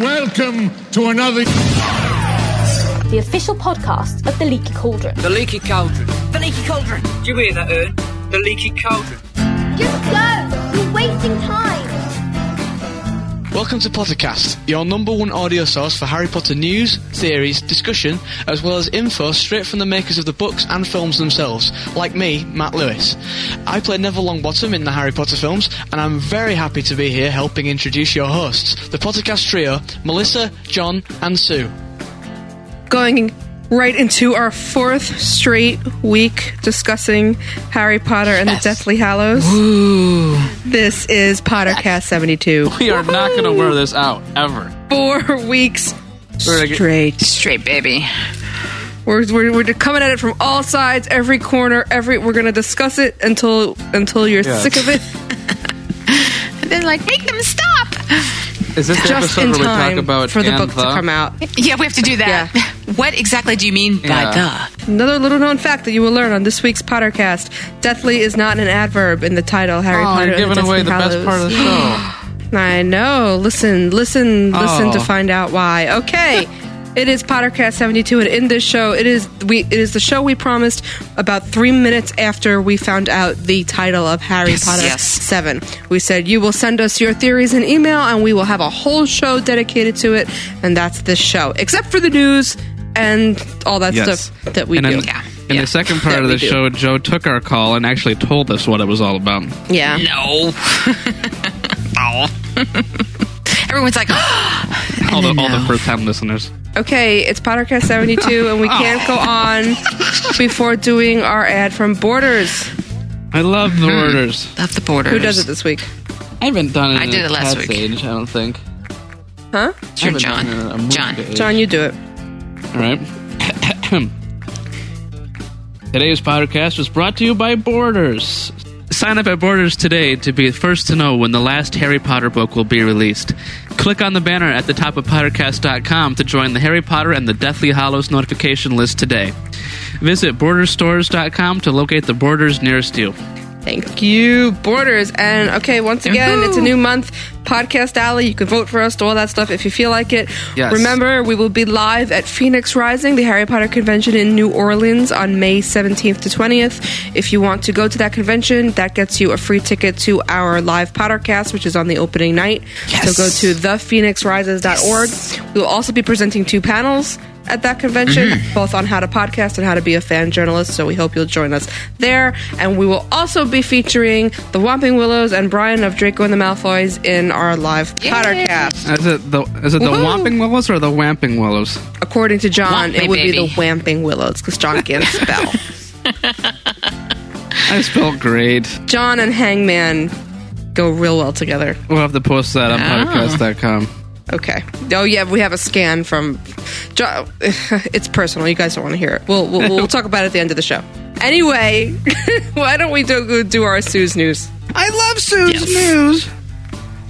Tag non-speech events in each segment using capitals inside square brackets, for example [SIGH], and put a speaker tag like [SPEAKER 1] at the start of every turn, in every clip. [SPEAKER 1] welcome to another.
[SPEAKER 2] the official podcast of The Leaky Cauldron.
[SPEAKER 3] The leaky cauldron.
[SPEAKER 4] The leaky cauldron.
[SPEAKER 3] Do you hear that, Ern? The leaky cauldron.
[SPEAKER 5] Just go! You're wasting time!
[SPEAKER 6] Welcome to Pottercast, your number one audio source for Harry Potter news, theories, discussion, as well as info straight from the makers of the books and films themselves, like me, Matt Lewis. I play Neville Longbottom in the Harry Potter films, and I'm very happy to be here helping introduce your hosts, the Pottercast trio, Melissa, John, and Sue.
[SPEAKER 7] going right into our fourth straight week discussing Harry Potter and the Deathly Hallows. This is Pottercast 72.
[SPEAKER 8] [LAUGHS] We are not going to wear this out ever.
[SPEAKER 7] Four weeks
[SPEAKER 8] We're gonna get-
[SPEAKER 7] straight.
[SPEAKER 4] Straight baby.
[SPEAKER 7] We're, we're, we're coming at it from all sides, every corner, every. We're going to discuss it until until you're
[SPEAKER 8] Yeah.
[SPEAKER 7] sick of it.
[SPEAKER 4] And then like, make them stop.
[SPEAKER 8] Is [LAUGHS] this the
[SPEAKER 7] Just
[SPEAKER 8] episode
[SPEAKER 7] in
[SPEAKER 8] where we talk
[SPEAKER 7] time
[SPEAKER 8] about
[SPEAKER 7] for the
[SPEAKER 8] and
[SPEAKER 7] book to come out.
[SPEAKER 4] Yeah, we have to do that. What exactly do you mean by
[SPEAKER 8] Yeah.
[SPEAKER 4] the?
[SPEAKER 7] Another little known fact that you will learn on this week's Pottercast: Deathly is not an adverb in the title. Harry
[SPEAKER 8] Oh,
[SPEAKER 7] Potter
[SPEAKER 8] you're
[SPEAKER 7] and
[SPEAKER 8] giving
[SPEAKER 7] the
[SPEAKER 8] away
[SPEAKER 7] Deathly
[SPEAKER 8] the best
[SPEAKER 7] Hallows.
[SPEAKER 8] part of the show.
[SPEAKER 7] I know. Listen, listen, listen
[SPEAKER 8] Oh.
[SPEAKER 7] to find out why.
[SPEAKER 8] [LAUGHS]
[SPEAKER 7] Okay. It is Pottercast 72 and in this show it is we it is the show we promised about 3 minutes after we found out the title of Harry
[SPEAKER 4] Yes,
[SPEAKER 7] Potter
[SPEAKER 4] yes.
[SPEAKER 7] 7. We said you will send us your theories in email and we will have a whole show dedicated to it and that's this show except for the news and all that
[SPEAKER 8] Yes.
[SPEAKER 7] stuff that we
[SPEAKER 8] and
[SPEAKER 7] do.
[SPEAKER 8] in,
[SPEAKER 4] Yeah.
[SPEAKER 8] in
[SPEAKER 4] Yeah.
[SPEAKER 8] the second
[SPEAKER 7] That
[SPEAKER 8] part of
[SPEAKER 7] we
[SPEAKER 8] the
[SPEAKER 7] do.
[SPEAKER 8] show, Joe took our call and actually told us what it was all about.
[SPEAKER 7] yeah. [LAUGHS]
[SPEAKER 4] No. Everyone's like, "Oh,
[SPEAKER 8] All the, all the first time listeners.
[SPEAKER 7] Okay, it's Pottercast 72 and we can't
[SPEAKER 8] [LAUGHS] Oh.
[SPEAKER 7] go on before doing our ad from Borders.
[SPEAKER 8] I love the
[SPEAKER 7] Hmm.
[SPEAKER 8] orders.
[SPEAKER 4] love the borders.
[SPEAKER 7] Who does it this week?
[SPEAKER 8] I haven't done it.
[SPEAKER 4] I
[SPEAKER 8] in
[SPEAKER 4] did
[SPEAKER 8] a
[SPEAKER 4] it last
[SPEAKER 8] cat's
[SPEAKER 4] week.
[SPEAKER 8] Age, I don't think.
[SPEAKER 7] Huh?
[SPEAKER 4] Sure,
[SPEAKER 8] I haven't
[SPEAKER 4] John.
[SPEAKER 8] done it in a
[SPEAKER 4] John.
[SPEAKER 8] movie age.
[SPEAKER 7] John, Uh, you do it.
[SPEAKER 8] All right. [COUGHS] Today's podcast was brought to you by Borders. Sign up at Borders today to be the first to know when the last Harry Potter book will be released. Click on the banner at the top of Pottercast.com to join the Harry Potter and the Deathly Hollows notification list today. Visit BordersStores.com to locate the Borders nearest you.
[SPEAKER 7] Thank you, Borders. And okay, once again, it's a new month. Podcast Alley, you can vote for us, do all that stuff if you feel like it.
[SPEAKER 8] Yes.
[SPEAKER 7] Remember, we will be live at Phoenix Rising, the Harry Potter convention in New Orleans on May 17th to 20th. If you want to go to that convention, that gets you a free ticket to our live Pottercast, which is on the opening night. So go to thephoenixrises.org. We will also be presenting two panels at that convention, both on how to podcast and how to be a fan journalist. So we hope you'll join us there. And we will also be featuring the Whomping Willows and Brian of Draco and the Malfoys in our live Pottercast.
[SPEAKER 8] Is it the, is it the
[SPEAKER 7] Woohoo!
[SPEAKER 8] Whomping Willows or the Whamping Willows?
[SPEAKER 7] According to John,
[SPEAKER 4] Whomp me,
[SPEAKER 7] it would be
[SPEAKER 4] baby.
[SPEAKER 7] the Whamping Willows because John can't spell.
[SPEAKER 8] I spelled great.
[SPEAKER 7] John and Hangman go real well together.
[SPEAKER 8] We'll have to post that on podcast.com.
[SPEAKER 7] Okay. Oh yeah, we have a scan from. Jo- [LAUGHS] It's personal. You guys don't want to hear it. We'll we'll, we'll talk about it at the end of the show. Anyway, [LAUGHS] why don't we do, do our Sue's news?
[SPEAKER 8] I love Sue's news.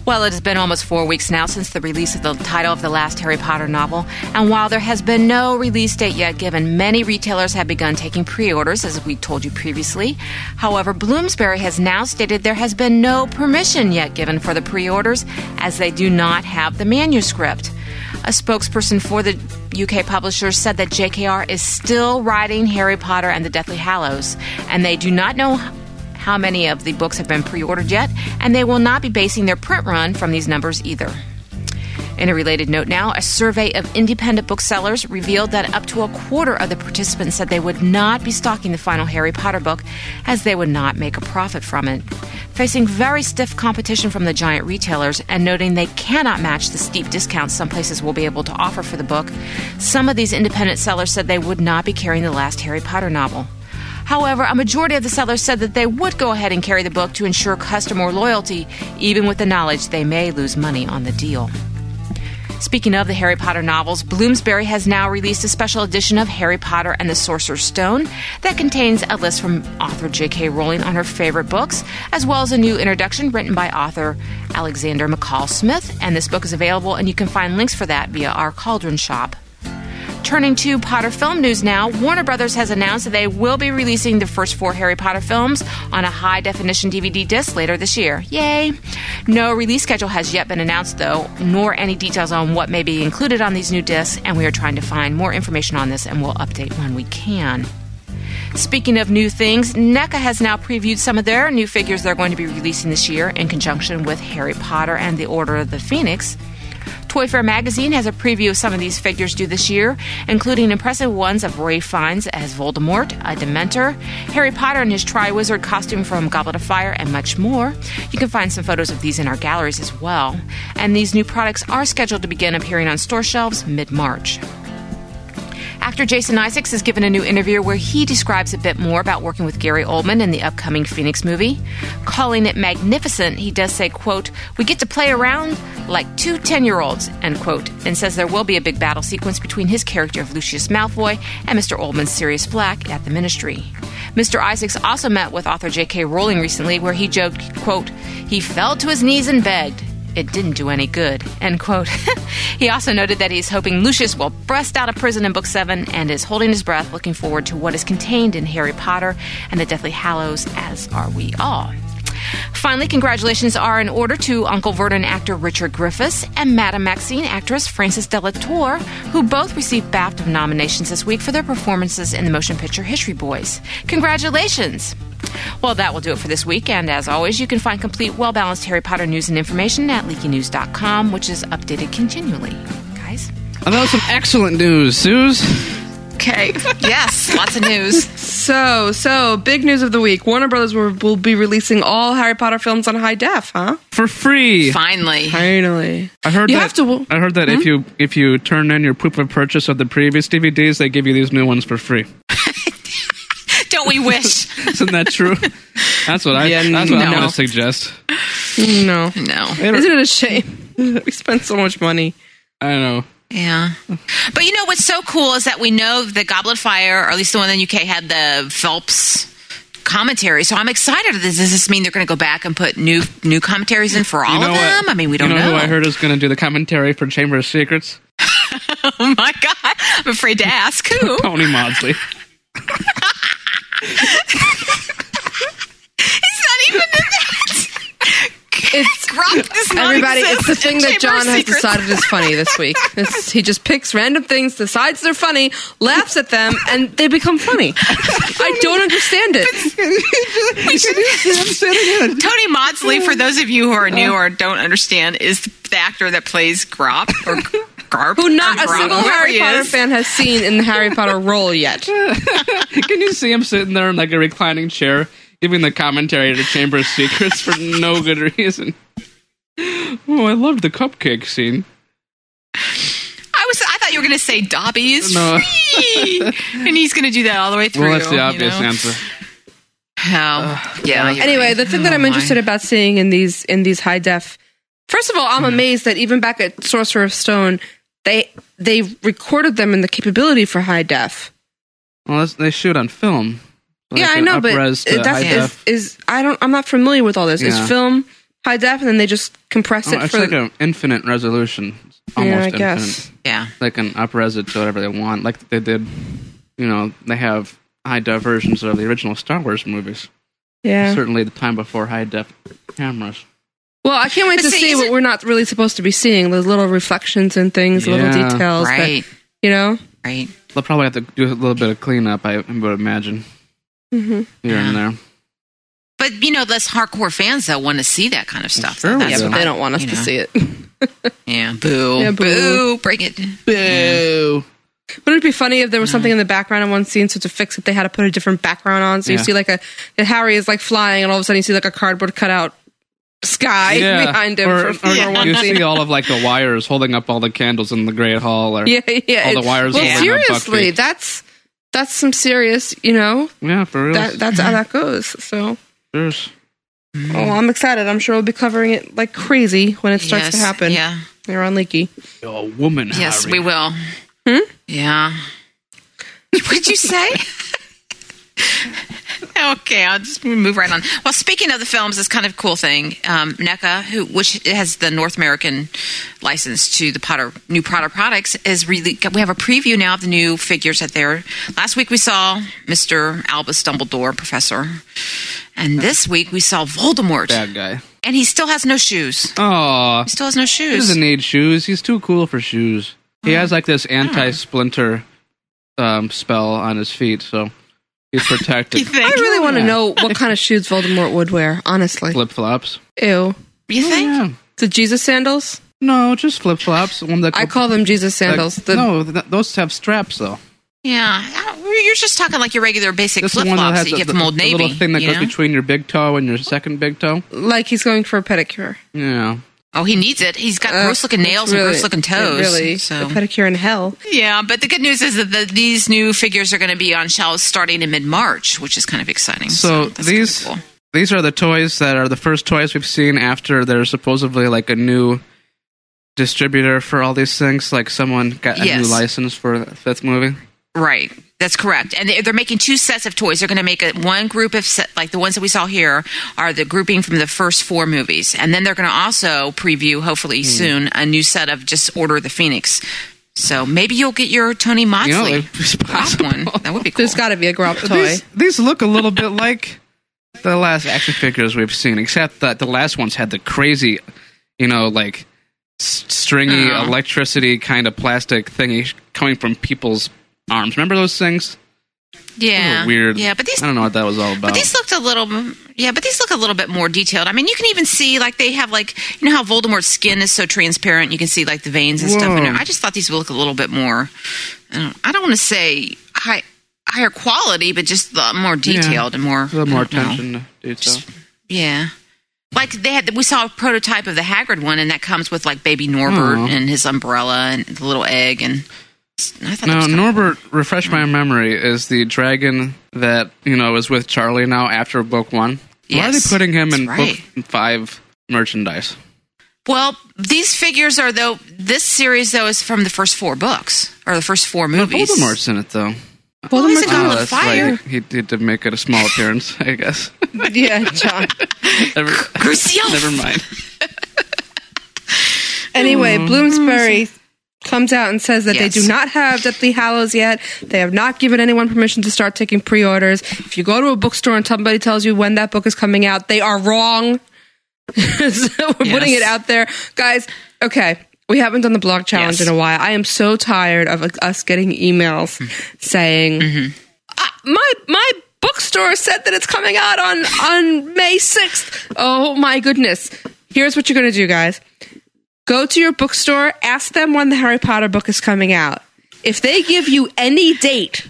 [SPEAKER 4] Well, it has been almost four weeks now since the release of the title of the last Harry Potter novel, and while there has been no release date yet given, many retailers have begun taking pre orders, as we told you previously. However, Bloomsbury has now stated there has been no permission yet given for the pre orders, as they do not have the manuscript. A spokesperson for the UK publisher said that JKR is still writing Harry Potter and the Deathly Hallows, and they do not know how many of the books have been pre ordered yet, and they will not be basing their print run from these numbers either. In a related note now, a survey of independent booksellers revealed that up to a quarter of the participants said they would not be stocking the final Harry Potter book as they would not make a profit from it. Facing very stiff competition from the giant retailers and noting they cannot match the steep discounts some places will be able to offer for the book, some of these independent sellers said they would not be carrying the last Harry Potter novel. However, a majority of the sellers said that they would go ahead and carry the book to ensure customer loyalty, even with the knowledge they may lose money on the deal. Speaking of the Harry Potter novels, Bloomsbury has now released a special edition of Harry Potter and the Sorcerer's Stone that contains a list from author J.K. Rowling on her favorite books, as well as a new introduction written by author Alexander McCall Smith. And this book is available, and you can find links for that via our Cauldron shop. Turning to Potter film news now, Warner Brothers has announced that they will be releasing the first four Harry Potter films on a high definition DVD disc later this year. Yay! No release schedule has yet been announced, though, nor any details on what may be included on these new discs, and we are trying to find more information on this and we'll update when we can. Speaking of new things, NECA has now previewed some of their new figures they're going to be releasing this year in conjunction with Harry Potter and the Order of the Phoenix. Toy Fair magazine has a preview of some of these figures due this year, including impressive ones of Ray Fiennes as Voldemort, a Dementor, Harry Potter in his Triwizard costume from Goblet of Fire, and much more. You can find some photos of these in our galleries as well. And these new products are scheduled to begin appearing on store shelves mid March. Actor Jason Isaacs is given a new interview where he describes a bit more about working with Gary Oldman in the upcoming Phoenix movie. Calling it magnificent, he does say, quote, We get to play around like two 10-year-olds, end quote, and says there will be a big battle sequence between his character of Lucius Malfoy and Mr. Oldman's Sirius Black at the Ministry. Mr. Isaacs also met with author J.K. Rowling recently where he joked, quote, He fell to his knees and begged it didn't do any good end quote [LAUGHS] he also noted that he's hoping lucius will bust out of prison in book 7 and is holding his breath looking forward to what is contained in harry potter and the deathly hallows as are we all Finally, congratulations are in order to Uncle Vernon actor Richard Griffiths and Madame Maxine actress Frances Delatour, who both received BAFTA nominations this week for their performances in the motion picture History Boys. Congratulations! Well, that will do it for this week, and as always, you can find complete, well balanced Harry Potter news and information at leakynews.com, which is updated continually. Guys?
[SPEAKER 8] And that was some excellent news, Suze.
[SPEAKER 4] Okay. yes, lots of news.
[SPEAKER 7] [LAUGHS] So, so big news of the week: Warner Brothers will, will be releasing all Harry Potter films on high def, huh?
[SPEAKER 8] For free.
[SPEAKER 4] Finally.
[SPEAKER 7] Finally,
[SPEAKER 8] I heard
[SPEAKER 7] you
[SPEAKER 8] that,
[SPEAKER 7] have to.
[SPEAKER 8] I heard that if
[SPEAKER 4] Hmm?
[SPEAKER 8] you if you turn in your proof of purchase of the previous DVDs, they give you these new ones for free.
[SPEAKER 4] [LAUGHS] Don't we wish?
[SPEAKER 8] Isn't that true? that's what I.
[SPEAKER 7] Yeah,
[SPEAKER 8] that's what I
[SPEAKER 7] no.
[SPEAKER 8] want to suggest.
[SPEAKER 7] No,
[SPEAKER 4] [LAUGHS] no.
[SPEAKER 7] isn't it a shame? [LAUGHS] we spent so much money.
[SPEAKER 8] I don't know.
[SPEAKER 4] Yeah. But you know what's so cool is that we know the Goblet of Fire, or at least the one in the UK, had the Phelps commentary. So I'm excited. Does this mean they're going to go back and put new new commentaries in for all
[SPEAKER 8] you know
[SPEAKER 4] of
[SPEAKER 8] what-
[SPEAKER 4] them? I mean, we don't
[SPEAKER 8] you know, who I heard is going to do the commentary for Chamber of Secrets.
[SPEAKER 4] Oh my god! I'm afraid to
[SPEAKER 8] [LAUGHS]
[SPEAKER 4] ask who.
[SPEAKER 8] Tony Maudsley.
[SPEAKER 4] It's not even that.
[SPEAKER 7] It's
[SPEAKER 4] Grok does not
[SPEAKER 7] everybody.
[SPEAKER 4] exist
[SPEAKER 7] It's the thing
[SPEAKER 4] in
[SPEAKER 7] that
[SPEAKER 4] Chamber
[SPEAKER 7] John
[SPEAKER 4] of
[SPEAKER 7] has
[SPEAKER 4] Secrets.
[SPEAKER 7] decided is funny this
[SPEAKER 4] [LAUGHS]
[SPEAKER 7] week. This, he just picks random things, decides they're funny, laughs at them, and they become
[SPEAKER 4] [LAUGHS]
[SPEAKER 7] funny. I don't understand it.
[SPEAKER 4] Tony Maudsley, for those of you who are
[SPEAKER 7] Uh.
[SPEAKER 4] new or don't understand, is the actor that plays Grop or Garp.
[SPEAKER 7] Who not
[SPEAKER 4] or
[SPEAKER 7] a
[SPEAKER 4] Grop,
[SPEAKER 7] single
[SPEAKER 4] whoever
[SPEAKER 7] Harry
[SPEAKER 4] he
[SPEAKER 7] Potter
[SPEAKER 4] is.
[SPEAKER 7] fan has seen in the Harry
[SPEAKER 4] [LAUGHS]
[SPEAKER 7] Potter role yet.
[SPEAKER 8] Can you see him sitting there in like a reclining chair, giving the commentary to Chamber of Secrets for no good [LAUGHS] reason? Oh, I loved the cupcake scene.
[SPEAKER 4] I was. I thought you were going to say Dobby is [LAUGHS]
[SPEAKER 8] No.
[SPEAKER 4] free, and he's going to do that all the way through.
[SPEAKER 8] Well, that's the
[SPEAKER 4] you
[SPEAKER 8] obvious
[SPEAKER 4] know?
[SPEAKER 8] answer.
[SPEAKER 4] Oh, yeah. you're
[SPEAKER 7] anyway,
[SPEAKER 4] right.
[SPEAKER 7] the thing that
[SPEAKER 4] Oh,
[SPEAKER 7] I'm
[SPEAKER 4] my.
[SPEAKER 7] interested about seeing in these in these high def. First of all, I'm amazed that even back at Sorcerer's Stone, they they recorded them in the capability for high def.
[SPEAKER 8] Well, that's, they shoot on film. Like
[SPEAKER 7] yeah, I
[SPEAKER 8] an
[SPEAKER 7] know, but
[SPEAKER 8] up-res to
[SPEAKER 7] it- that's
[SPEAKER 8] high
[SPEAKER 7] is,
[SPEAKER 8] def.
[SPEAKER 7] is I don't I'm not familiar with all this.
[SPEAKER 8] Yeah.
[SPEAKER 7] It's film high def, and then they just compress
[SPEAKER 8] Oh,
[SPEAKER 7] it
[SPEAKER 8] it's
[SPEAKER 7] for
[SPEAKER 8] like an infinite resolution. It's Almost
[SPEAKER 7] yeah, I
[SPEAKER 8] infinite.
[SPEAKER 7] guess.
[SPEAKER 4] Yeah.
[SPEAKER 8] They can up-res it to whatever they want, like they did. You know, they have high def versions of the original Star Wars movies.
[SPEAKER 7] Yeah.
[SPEAKER 8] Certainly, the time before high def cameras.
[SPEAKER 7] Well, I can't wait
[SPEAKER 4] But
[SPEAKER 7] to
[SPEAKER 4] see,
[SPEAKER 7] see
[SPEAKER 4] is
[SPEAKER 7] what
[SPEAKER 4] it-
[SPEAKER 7] we're not really supposed to be seeing. Those little reflections and things,
[SPEAKER 8] Yeah.
[SPEAKER 7] little details. that-
[SPEAKER 4] Right.
[SPEAKER 7] you know?
[SPEAKER 4] Right.
[SPEAKER 8] They'll probably have to do a little bit of cleanup, I would imagine,
[SPEAKER 7] Mhm.
[SPEAKER 8] here and there.
[SPEAKER 4] But you know, less hardcore fans that want to see that kind of stuff.
[SPEAKER 8] Sure we
[SPEAKER 4] That's
[SPEAKER 7] Yeah,
[SPEAKER 8] do.
[SPEAKER 4] what
[SPEAKER 7] but they
[SPEAKER 4] I-
[SPEAKER 7] don't want us
[SPEAKER 4] you
[SPEAKER 7] to
[SPEAKER 4] know.
[SPEAKER 7] see it. [LAUGHS]
[SPEAKER 4] Yeah. Boo.
[SPEAKER 7] Yeah,
[SPEAKER 4] boo.
[SPEAKER 7] boo.
[SPEAKER 4] Break it.
[SPEAKER 8] Boo!
[SPEAKER 7] Wouldn't it be funny if there was something in the background in one scene, so to fix it, they had to put a different background on? So
[SPEAKER 8] Yeah.
[SPEAKER 7] you see like a that Harry is like flying, and all of a sudden you see like a cardboard cutout sky [LAUGHS] behind him
[SPEAKER 8] Or,
[SPEAKER 7] for, for
[SPEAKER 8] or you
[SPEAKER 7] one scene.
[SPEAKER 8] see all of like the wires holding up all the candles in the Great Hall, or
[SPEAKER 7] yeah, yeah.
[SPEAKER 8] all the
[SPEAKER 7] it-
[SPEAKER 8] wires
[SPEAKER 7] Well,
[SPEAKER 8] holding up
[SPEAKER 7] seriously,
[SPEAKER 8] Buckbeak.
[SPEAKER 7] that's that's some serious. You know,
[SPEAKER 8] yeah, for real.
[SPEAKER 7] that that's how that goes. So,
[SPEAKER 8] There's- Mm-hmm.
[SPEAKER 7] oh, I'm excited. I'm sure we'll be covering it like crazy when it starts
[SPEAKER 4] yes.
[SPEAKER 7] to happen.
[SPEAKER 4] Yeah.
[SPEAKER 7] You're on leaky.
[SPEAKER 8] You're a woman.
[SPEAKER 4] Yes,
[SPEAKER 8] Harry.
[SPEAKER 4] we will. Yeah. What did you say? [LAUGHS] okay, I'll just move right on. Well, speaking of the films, this kind of cool thing, um, NECA, who which has the North American license to the Potter new Potter products, is really we have a preview now of the new figures out there. Last week we saw Mister Albus Dumbledore, Professor, and this week we saw Voldemort,
[SPEAKER 8] Bad guy.
[SPEAKER 4] and he still has no shoes.
[SPEAKER 7] Oh.
[SPEAKER 8] Aw.
[SPEAKER 4] He still has no
[SPEAKER 8] He
[SPEAKER 4] shoes.
[SPEAKER 8] doesn't need shoes. He's too cool for shoes.
[SPEAKER 4] Hmm.
[SPEAKER 8] He has like this anti splinter um, spell on his feet, so he's protected.
[SPEAKER 4] [LAUGHS] You think?
[SPEAKER 7] I really want to
[SPEAKER 8] Yeah.
[SPEAKER 7] know [LAUGHS] what kind of shoes Voldemort would wear, honestly.
[SPEAKER 8] flip flops.
[SPEAKER 7] Ew.
[SPEAKER 4] You think?
[SPEAKER 8] Oh, Yeah.
[SPEAKER 7] The Jesus sandals?
[SPEAKER 8] No, just flip flops. One that
[SPEAKER 7] I call them Jesus
[SPEAKER 8] like-
[SPEAKER 7] sandals. The-
[SPEAKER 8] no, th- those have straps though.
[SPEAKER 4] Yeah, I don't- you're just talking like your regular basic
[SPEAKER 8] This is
[SPEAKER 4] flip
[SPEAKER 8] one that
[SPEAKER 4] flops
[SPEAKER 8] has
[SPEAKER 4] that you
[SPEAKER 8] the,
[SPEAKER 4] get from
[SPEAKER 8] the-
[SPEAKER 4] Old
[SPEAKER 8] the
[SPEAKER 4] Navy.
[SPEAKER 8] little thing that
[SPEAKER 4] you
[SPEAKER 8] goes
[SPEAKER 4] know?
[SPEAKER 8] between your big toe and your second big toe.
[SPEAKER 7] Like he's going for a pedicure.
[SPEAKER 8] Yeah.
[SPEAKER 4] oh, he needs it. He's
[SPEAKER 8] Uh,
[SPEAKER 4] got gross looking
[SPEAKER 7] it's
[SPEAKER 4] nails
[SPEAKER 7] really-
[SPEAKER 4] and gross looking toes.
[SPEAKER 7] it Really,
[SPEAKER 4] so.
[SPEAKER 7] a pedicure in hell.
[SPEAKER 4] yeah, but the good news is that the, these new figures are going to be on shelves starting in mid March, which is kind of exciting.
[SPEAKER 8] So
[SPEAKER 4] that's
[SPEAKER 8] these
[SPEAKER 4] kinda cool.
[SPEAKER 8] these are the toys that are the first toys we've seen after there's supposedly like a new distributor for all these things. Like someone got a
[SPEAKER 4] Yes.
[SPEAKER 8] new license for the fifth movie.
[SPEAKER 4] Right. That's correct. And they- they're making two sets of toys. They're going to make it one group of set, like the ones that we saw here are the grouping from the first four movies. And then they're going to also preview, hopefully
[SPEAKER 8] Hmm.
[SPEAKER 4] soon, a new set of just Order of the Phoenix. So maybe you'll get your Tony Moxley
[SPEAKER 8] if it's
[SPEAKER 4] prop one. That would be cool.
[SPEAKER 7] There's got to be a grub toy.
[SPEAKER 8] These, these look a little bit like the last action figures we've seen, except that the last ones had the crazy, you know, like s- stringy
[SPEAKER 4] Oh.
[SPEAKER 8] electricity kind of plastic thingy coming from people's arms. Remember those things? Those were
[SPEAKER 4] yeah,
[SPEAKER 8] weird.
[SPEAKER 4] Yeah, but these
[SPEAKER 8] I don't know what that was all about.
[SPEAKER 4] But these looked a little, yeah. But these look a little bit more detailed. I mean, you can even see like they have like you know how Voldemort's skin is so transparent. You can see like the veins and stuff in
[SPEAKER 8] Whoa.
[SPEAKER 4] there. I just thought these would look a little bit more. I don't, I don't want to say high, higher quality, but just the more detailed and more
[SPEAKER 8] a little more
[SPEAKER 4] I don't know.
[SPEAKER 8] attention to detail.
[SPEAKER 4] Yeah. Like they had, we saw a prototype of the Hagrid one, and that comes with like baby Norbert
[SPEAKER 8] Oh.
[SPEAKER 4] and his umbrella and the little egg, and I thought that
[SPEAKER 8] Now
[SPEAKER 4] was kinda-
[SPEAKER 8] Norbert, refresh my memory, is the dragon that you know is with Charlie now after book one. Why are they
[SPEAKER 4] Yes,
[SPEAKER 8] putting him
[SPEAKER 4] that's
[SPEAKER 8] in
[SPEAKER 4] right.
[SPEAKER 8] book five merchandise?
[SPEAKER 4] Well, these figures are though. This series though is from the first four books or the first four
[SPEAKER 8] But
[SPEAKER 4] movies.
[SPEAKER 8] Voldemort's in it though.
[SPEAKER 4] Voldemort's
[SPEAKER 8] Oh,
[SPEAKER 4] goblet of
[SPEAKER 8] that's
[SPEAKER 4] fire.
[SPEAKER 8] right. He did to make it a small appearance, I guess. [LAUGHS]
[SPEAKER 7] yeah, John.
[SPEAKER 8] Never,
[SPEAKER 4] Crucial.
[SPEAKER 8] [LAUGHS] never mind.
[SPEAKER 7] Anyway, Bloomsbury comes out and says that
[SPEAKER 4] Mm-hmm. Yes.
[SPEAKER 7] they do not have Deathly Hallows yet. They have not given anyone permission to start taking pre-orders. If you go to a bookstore and somebody tells you when that book is coming out, they are wrong. [LAUGHS] so we're putting
[SPEAKER 4] Yes.
[SPEAKER 7] it out there, guys. Okay. We haven't done the blog challenge
[SPEAKER 4] Yes. Hmm.
[SPEAKER 7] in a while. I am so tired of uh, us getting emails saying
[SPEAKER 4] Mm-hmm.
[SPEAKER 7] "Uh, my my bookstore said that it's coming out on on May 6th. Oh my goodness. Here's what you're going to do, guys go to your bookstore, ask them when the Harry Potter book is coming out. If they give you any date,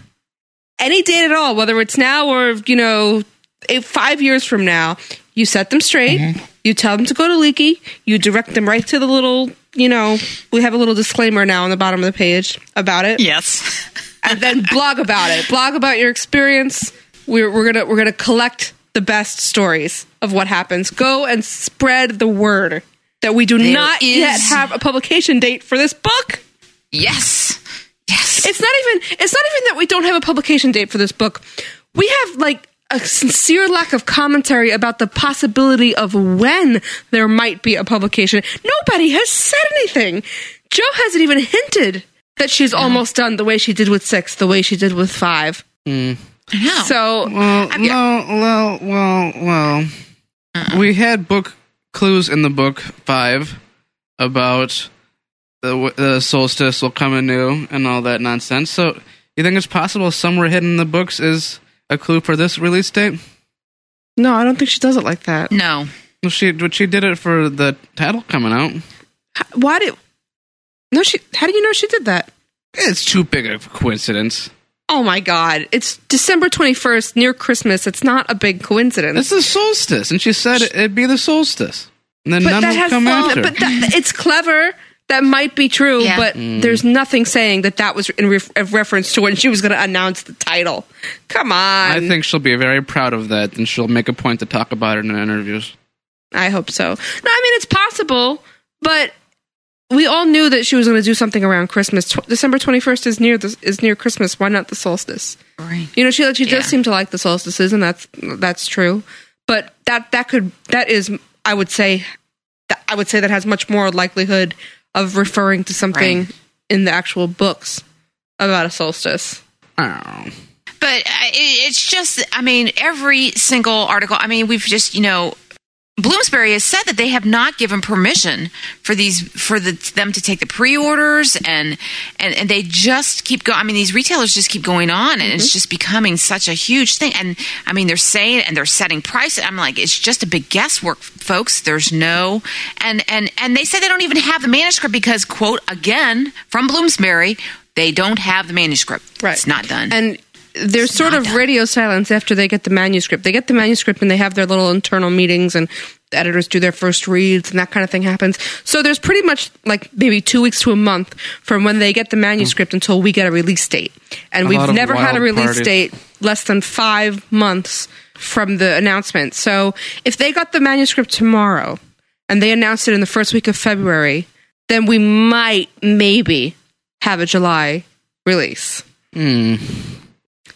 [SPEAKER 7] any date at all, whether it's now or, you know, eight, five years from now, you set them straight. You tell them to go to Leaky. You direct them right to the little, you know, we have a little disclaimer now on the bottom of the page about it.
[SPEAKER 4] Yes.
[SPEAKER 7] And then blog about it. Blog about your experience. We're, we're gonna we're gonna collect the best stories of what happens. Go and spread the word that we do not
[SPEAKER 4] is-
[SPEAKER 7] yet have a publication date for this book.
[SPEAKER 4] [LAUGHS] Yes. Yes.
[SPEAKER 7] It's not even it's not even that we don't have a publication date for this book. We have like a sincere lack of commentary about the possibility of when there might be a publication. Nobody has said anything. Joe hasn't even hinted that she's almost done the way she did with 6, the way she did with 5.
[SPEAKER 4] I know.
[SPEAKER 7] So
[SPEAKER 8] Well, no, well, well, well. We had book clues in the book five about the, w- the solstice will come anew and all that nonsense. So, you think it's possible somewhere hidden in the books is a clue for this release date?
[SPEAKER 7] no, I don't think she does it like that.
[SPEAKER 4] no.
[SPEAKER 8] Well, she well, she did it for the title coming out.
[SPEAKER 7] Why did No, she How do you know she did that?
[SPEAKER 8] It's too big of a coincidence.
[SPEAKER 7] Oh my god. It's December 21st near Christmas. It's not a big coincidence.
[SPEAKER 8] It's the solstice, and she said it'd be the solstice, and then
[SPEAKER 7] but
[SPEAKER 8] none
[SPEAKER 7] that
[SPEAKER 8] would
[SPEAKER 7] has
[SPEAKER 8] come
[SPEAKER 7] well,
[SPEAKER 8] after.
[SPEAKER 7] but that, it's clever that might be true
[SPEAKER 4] Yeah.
[SPEAKER 7] but there's nothing saying that that was in ref- of reference to when she was going to announce the title come on
[SPEAKER 8] I think she'll be very proud of that, and she'll make a point to talk about it in interviews.
[SPEAKER 7] i hope so no i mean it's possible but we all knew that she was going to do something around Christmas. Tw- December 21st is near the, is near Christmas. Why not the solstice?
[SPEAKER 4] Right.
[SPEAKER 7] You know, she like she
[SPEAKER 4] Yeah.
[SPEAKER 7] does seem to like the solstices, and that's that's true. But that that could that is I would say that I would say that has much more likelihood of referring to something
[SPEAKER 4] Right.
[SPEAKER 7] in the actual books about a solstice.
[SPEAKER 4] But uh, it, it's just, I mean, every single article, I mean, we've just, you know, Bloomsbury has said that they have not given permission for these for the, them to take the pre-orders and, and and they just keep going. I mean, these retailers just keep going on, and
[SPEAKER 7] Mm-hmm.
[SPEAKER 4] it's just becoming such a huge thing. And I mean, they're saying and they're setting prices. I'm like, it's just a big guesswork, folks. There's no and and and they said they don't even have the manuscript because quote again from Bloomsbury, they don't have the manuscript.
[SPEAKER 7] Right.
[SPEAKER 4] it's not done.
[SPEAKER 7] And there's sort
[SPEAKER 4] not
[SPEAKER 7] of
[SPEAKER 4] done.
[SPEAKER 7] radio silence after they get the manuscript. They get the manuscript and they have their little internal meetings and the editors do their first reads and that kind of thing happens. So there's pretty much like maybe two weeks to a month from when they get the manuscript until we get a release date. And
[SPEAKER 8] A lot
[SPEAKER 7] we've
[SPEAKER 8] of
[SPEAKER 7] never had a
[SPEAKER 8] wild
[SPEAKER 7] release
[SPEAKER 8] parties.
[SPEAKER 7] date less than five months from the announcement. So if they got the manuscript tomorrow and they announced it in the first week of February, then we might maybe have a July release.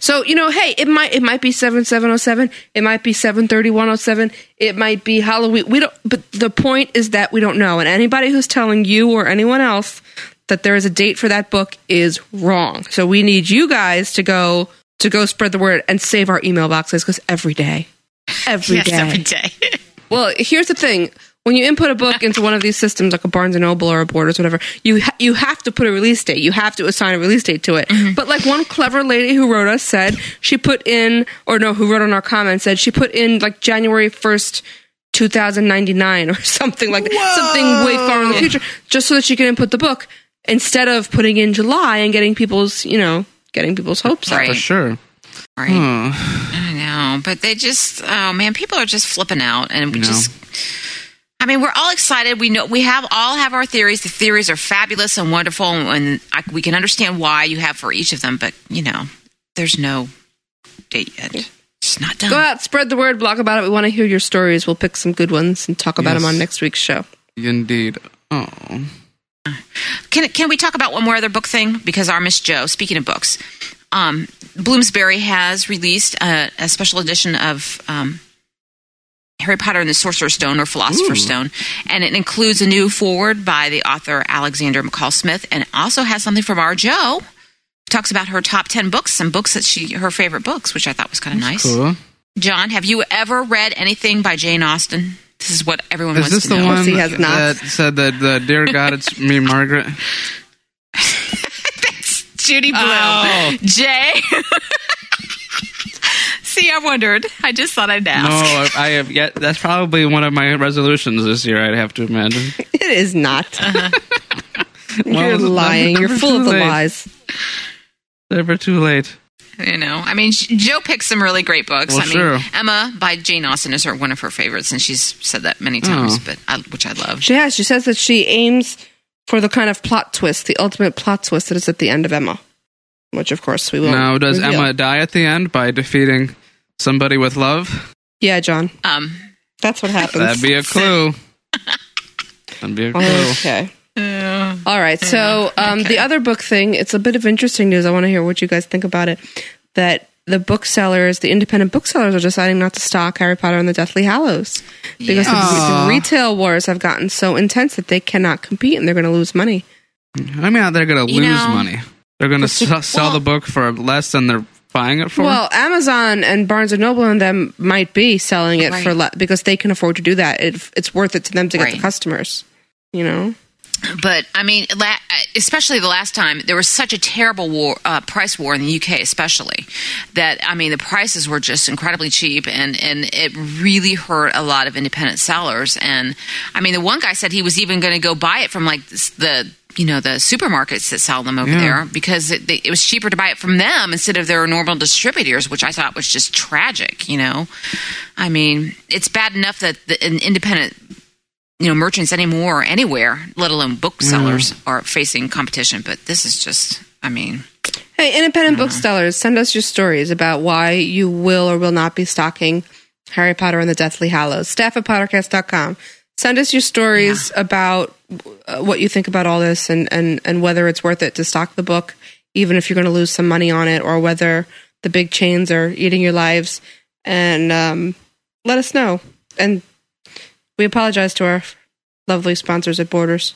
[SPEAKER 7] So you know, hey, it might it might be seven seven oh seven, it might be seven thirty one oh seven, it might be Halloween. We don't. But the point is that we don't know, and anybody who's telling you or anyone else that there is a date for that book is wrong. So we need you guys to go to go spread the word and save our email boxes because every day, every
[SPEAKER 4] yes,
[SPEAKER 7] day.
[SPEAKER 4] every day.
[SPEAKER 7] Well, here's the thing. When you input a book into one of these systems, like a Barnes and Noble or a Borders, whatever, you ha- you have to put a release date. You have to assign a release date to it. But like one clever lady who wrote us said, she put in, or no, who wrote on our comment said she put in like January first, 2099 or [LAUGHS] something like that. Something way far in the future, just so that she can input the book instead of putting in July and getting people's, you know, getting people's hopes up.
[SPEAKER 4] Right.
[SPEAKER 8] For sure.
[SPEAKER 4] Right. I know, but they just oh man, people are just flipping out and we
[SPEAKER 8] No.
[SPEAKER 4] just I mean, we're all excited. We know we have all have our theories. The theories are fabulous and wonderful and I, we can understand why you have for each of them, but you know, there's no date yet. It's not done.
[SPEAKER 7] Go out, spread the word, blog about it. We want to hear your stories. We'll pick some good ones and talk about
[SPEAKER 8] Yes.
[SPEAKER 7] them on next week's show.
[SPEAKER 8] Indeed. Oh.
[SPEAKER 4] Can can we talk about one more other book thing? Because our Miss Joe, speaking of books, um, Bloomsbury has released a, a special edition of um, Harry Potter and the Sorcerer's Stone or Philosopher's Stone, and it includes a new foreword by the author Alexander McCall Smith, and it also has something from our Joe. Talks about her top ten books, some books that she her favorite books, which I thought was kind of nice.
[SPEAKER 8] Cool.
[SPEAKER 4] John, have you ever read anything by Jane Austen? This is what everyone
[SPEAKER 8] Is
[SPEAKER 4] wants
[SPEAKER 8] this
[SPEAKER 4] to
[SPEAKER 8] the
[SPEAKER 4] know.
[SPEAKER 8] one
[SPEAKER 7] He has not.
[SPEAKER 8] that said that, uh, Dear God, it's me, Margaret?
[SPEAKER 4] That's Judy Blue.
[SPEAKER 8] Oh.
[SPEAKER 4] Jay. [LAUGHS] See, I wondered. I just thought I'd
[SPEAKER 8] No,
[SPEAKER 4] ask.
[SPEAKER 8] I, I have yet. That's probably one of my resolutions this year, I'd have to imagine.
[SPEAKER 7] It is not.
[SPEAKER 8] Well,
[SPEAKER 7] [LAUGHS] You're
[SPEAKER 8] it's
[SPEAKER 7] lying.
[SPEAKER 8] never
[SPEAKER 7] You're full of the
[SPEAKER 8] too late.
[SPEAKER 7] lies.
[SPEAKER 8] Never too late.
[SPEAKER 4] You know, I mean, J- Joe picks some really great books.
[SPEAKER 8] Well,
[SPEAKER 4] I mean,
[SPEAKER 8] sure.
[SPEAKER 4] Emma by Jane Austen is her one of her favorites, and she's said that many times,
[SPEAKER 8] Oh.
[SPEAKER 4] but I, which I love.
[SPEAKER 7] She has. She says that she aims for the kind of plot twist, the ultimate plot twist that is at the end of Emma, which of course we will.
[SPEAKER 8] now, does
[SPEAKER 7] reveal.
[SPEAKER 8] Emma die at the end by defeating somebody with love?
[SPEAKER 7] Yeah, John.
[SPEAKER 4] Um,
[SPEAKER 7] That's what happens. Oh,
[SPEAKER 8] That'd be a clue. That'd be a clue.
[SPEAKER 7] okay. All right. So um, the other book thing, it's a bit of interesting news. I want to hear what you guys think about it. That the booksellers, the independent booksellers, are deciding not to stock Harry Potter and the Deathly Hallows because the- the, retail wars have gotten so intense that they cannot compete and they're going to lose money.
[SPEAKER 8] I mean, they're going to
[SPEAKER 4] You
[SPEAKER 8] lose
[SPEAKER 4] know-
[SPEAKER 8] money. They're going to s- sell the book for less than they're buying it for.
[SPEAKER 7] Well, Amazon and Barnes and Noble and them might be selling it for
[SPEAKER 4] Right.
[SPEAKER 7] le- because they can afford to do that. It, it's worth it to them to get the
[SPEAKER 4] Right.
[SPEAKER 7] customers. You know,
[SPEAKER 4] but I mean, la- uh, especially the last time there was such a terrible war, uh, price war in the UK, especially that I mean the prices were just incredibly cheap, and and it really hurt a lot of independent sellers. And I mean, the one guy said he was even going to go buy it from like this- the you know the supermarkets that sell them over
[SPEAKER 8] Yeah.
[SPEAKER 4] there because it, they, it was cheaper to buy it from them instead of their normal distributors, which I thought was just tragic. You know, I mean, it's bad enough that the, an independent you know merchants anymore or anywhere, let alone booksellers, are facing competition. But this is just, I mean,
[SPEAKER 7] hey, independent booksellers, send us your stories about why you will or will not be stocking Harry Potter and the Deathly Hallows. Staff at Pottercast.com. Send us your stories about uh, what you think about all this and, and, and whether it's worth it to stock the book, even if you're going to lose some money on it, or whether the big chains are eating your lives. And um, let us know. And we apologize to our lovely sponsors at Borders.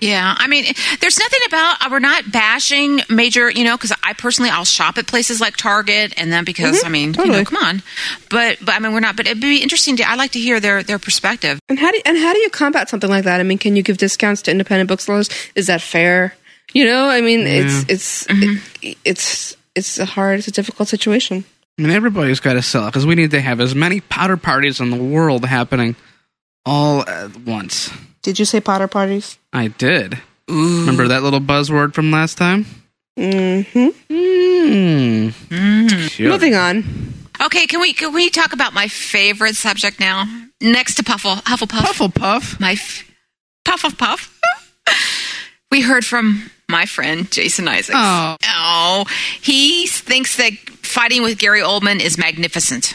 [SPEAKER 4] Yeah, I mean, there's nothing about uh, we're not bashing major, you know, because I personally I'll shop at places like Target, and then because I mean, you
[SPEAKER 7] totally.
[SPEAKER 4] know, come on, but but I mean, we're not. But it'd be interesting to I like to hear their their perspective.
[SPEAKER 7] And how do you, and how do you combat something like that? I mean, can you give discounts to independent booksellers? Is that fair? You know, I mean, it's it's
[SPEAKER 8] Mm-hmm.
[SPEAKER 7] it, it's it's a hard, it's a difficult situation.
[SPEAKER 8] I mean, everybody's got to sell because we need to have as many powder parties in the world happening all at once.
[SPEAKER 7] Did you say Potter parties?
[SPEAKER 8] I did. Remember that little buzzword from last time?
[SPEAKER 7] Mm-hmm.
[SPEAKER 4] Mm-hmm.
[SPEAKER 8] Mm. Sure.
[SPEAKER 7] Moving on.
[SPEAKER 4] Okay, can we can we talk about my favorite subject now? Next to Puffle, Hufflepuff.
[SPEAKER 8] Hufflepuff.
[SPEAKER 4] My f- Puffle Puff. [LAUGHS] we heard from my friend Jason Isaacs.
[SPEAKER 8] Oh.
[SPEAKER 4] Oh, he thinks that fighting with Gary Oldman is magnificent.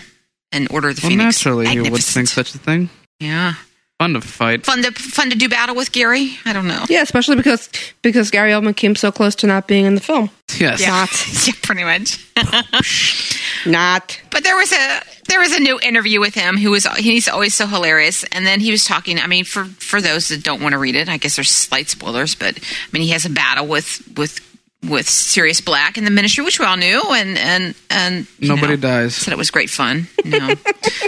[SPEAKER 4] And Order of the
[SPEAKER 8] Well,
[SPEAKER 4] Phoenix.
[SPEAKER 8] naturally, you would think
[SPEAKER 4] Magnificent.
[SPEAKER 8] such a thing.
[SPEAKER 4] Yeah,
[SPEAKER 8] Fun to fight.
[SPEAKER 4] fun to fun to do battle with Gary. I don't know.
[SPEAKER 7] Yeah, especially because because Gary Oldman came so close to not being in the film.
[SPEAKER 8] Yes.
[SPEAKER 7] Not,
[SPEAKER 4] [LAUGHS] yeah, pretty much.
[SPEAKER 7] not.
[SPEAKER 4] But there was a there was a new interview with him who was he's always so hilarious. And then he was talking. I mean, for for those that don't want to read it, I guess there's slight spoilers. But I mean, he has a battle with with with Sirius Black in the Ministry, which we all knew, and and and you
[SPEAKER 8] Nobody
[SPEAKER 4] know,
[SPEAKER 8] dies.
[SPEAKER 4] Said it was great fun. No,
[SPEAKER 8] [LAUGHS]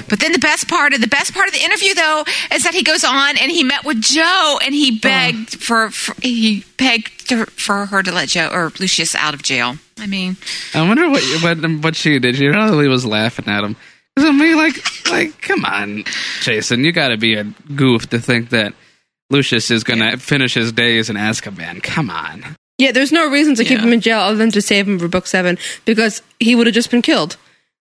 [SPEAKER 4] but then the best part of the best part of the interview though is that he goes on and he met with Joe and
[SPEAKER 8] Oh.
[SPEAKER 4] he begged for, for he begged to, for her to let Joe or Lucius out of jail. I mean.
[SPEAKER 8] I wonder what what what she did. She really was laughing at him. 'Cause I mean, like, like, come on, Jason, you got to be a goof to think that Lucius is gonna finish his days in Azkaban. Come on.
[SPEAKER 7] Yeah, there's no reason to keep
[SPEAKER 4] Yeah.
[SPEAKER 7] him in jail other than to save him for book seven because he would have just been killed.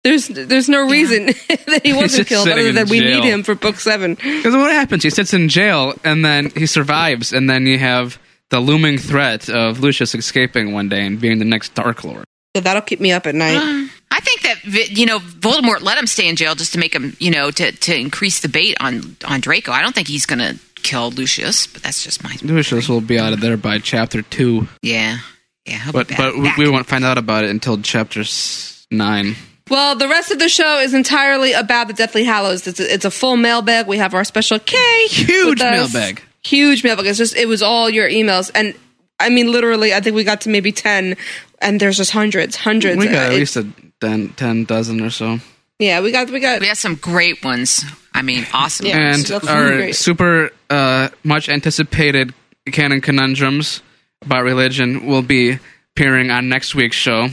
[SPEAKER 7] There's there's no reason [LAUGHS] that he wasn't
[SPEAKER 8] just
[SPEAKER 7] killed
[SPEAKER 8] sitting
[SPEAKER 7] other
[SPEAKER 8] in
[SPEAKER 7] than we
[SPEAKER 8] jail.
[SPEAKER 7] need him for book seven.
[SPEAKER 8] Because what happens? He sits in jail and then he survives, and then you have the looming threat of Lucius escaping one day and being the next Dark Lord.
[SPEAKER 7] So that'll keep me up at night.
[SPEAKER 4] I think that Vi- you know Voldemort let him stay in jail just to make him you know to, to increase the bait on on Draco. I don't think he's going to kill Lucius, but that's just my
[SPEAKER 8] Lucius will be out of there by chapter two,
[SPEAKER 4] yeah yeah. he'll be
[SPEAKER 8] but
[SPEAKER 4] back-
[SPEAKER 8] but we,
[SPEAKER 4] back.
[SPEAKER 8] we won't find out about it until chapter s- nine.
[SPEAKER 7] Well, the rest of the show is entirely about the Deathly Hallows. It's a, it's a full mailbag. We have our special K.
[SPEAKER 8] Huge
[SPEAKER 7] with us.
[SPEAKER 8] mailbag.
[SPEAKER 7] Huge mailbag. It's just it was all your emails, and I mean literally, I think we got to maybe ten, and there's just hundreds, hundreds.
[SPEAKER 8] We got
[SPEAKER 7] Uh,
[SPEAKER 8] at
[SPEAKER 7] it-
[SPEAKER 8] least a ten, 10 dozen or so.
[SPEAKER 7] yeah, we got we got
[SPEAKER 4] we have some great ones. I mean, awesome.
[SPEAKER 7] Yeah.
[SPEAKER 8] and
[SPEAKER 7] So that's
[SPEAKER 8] our
[SPEAKER 7] really great.
[SPEAKER 8] super uh, much anticipated canon conundrums about religion will be appearing on next week's show.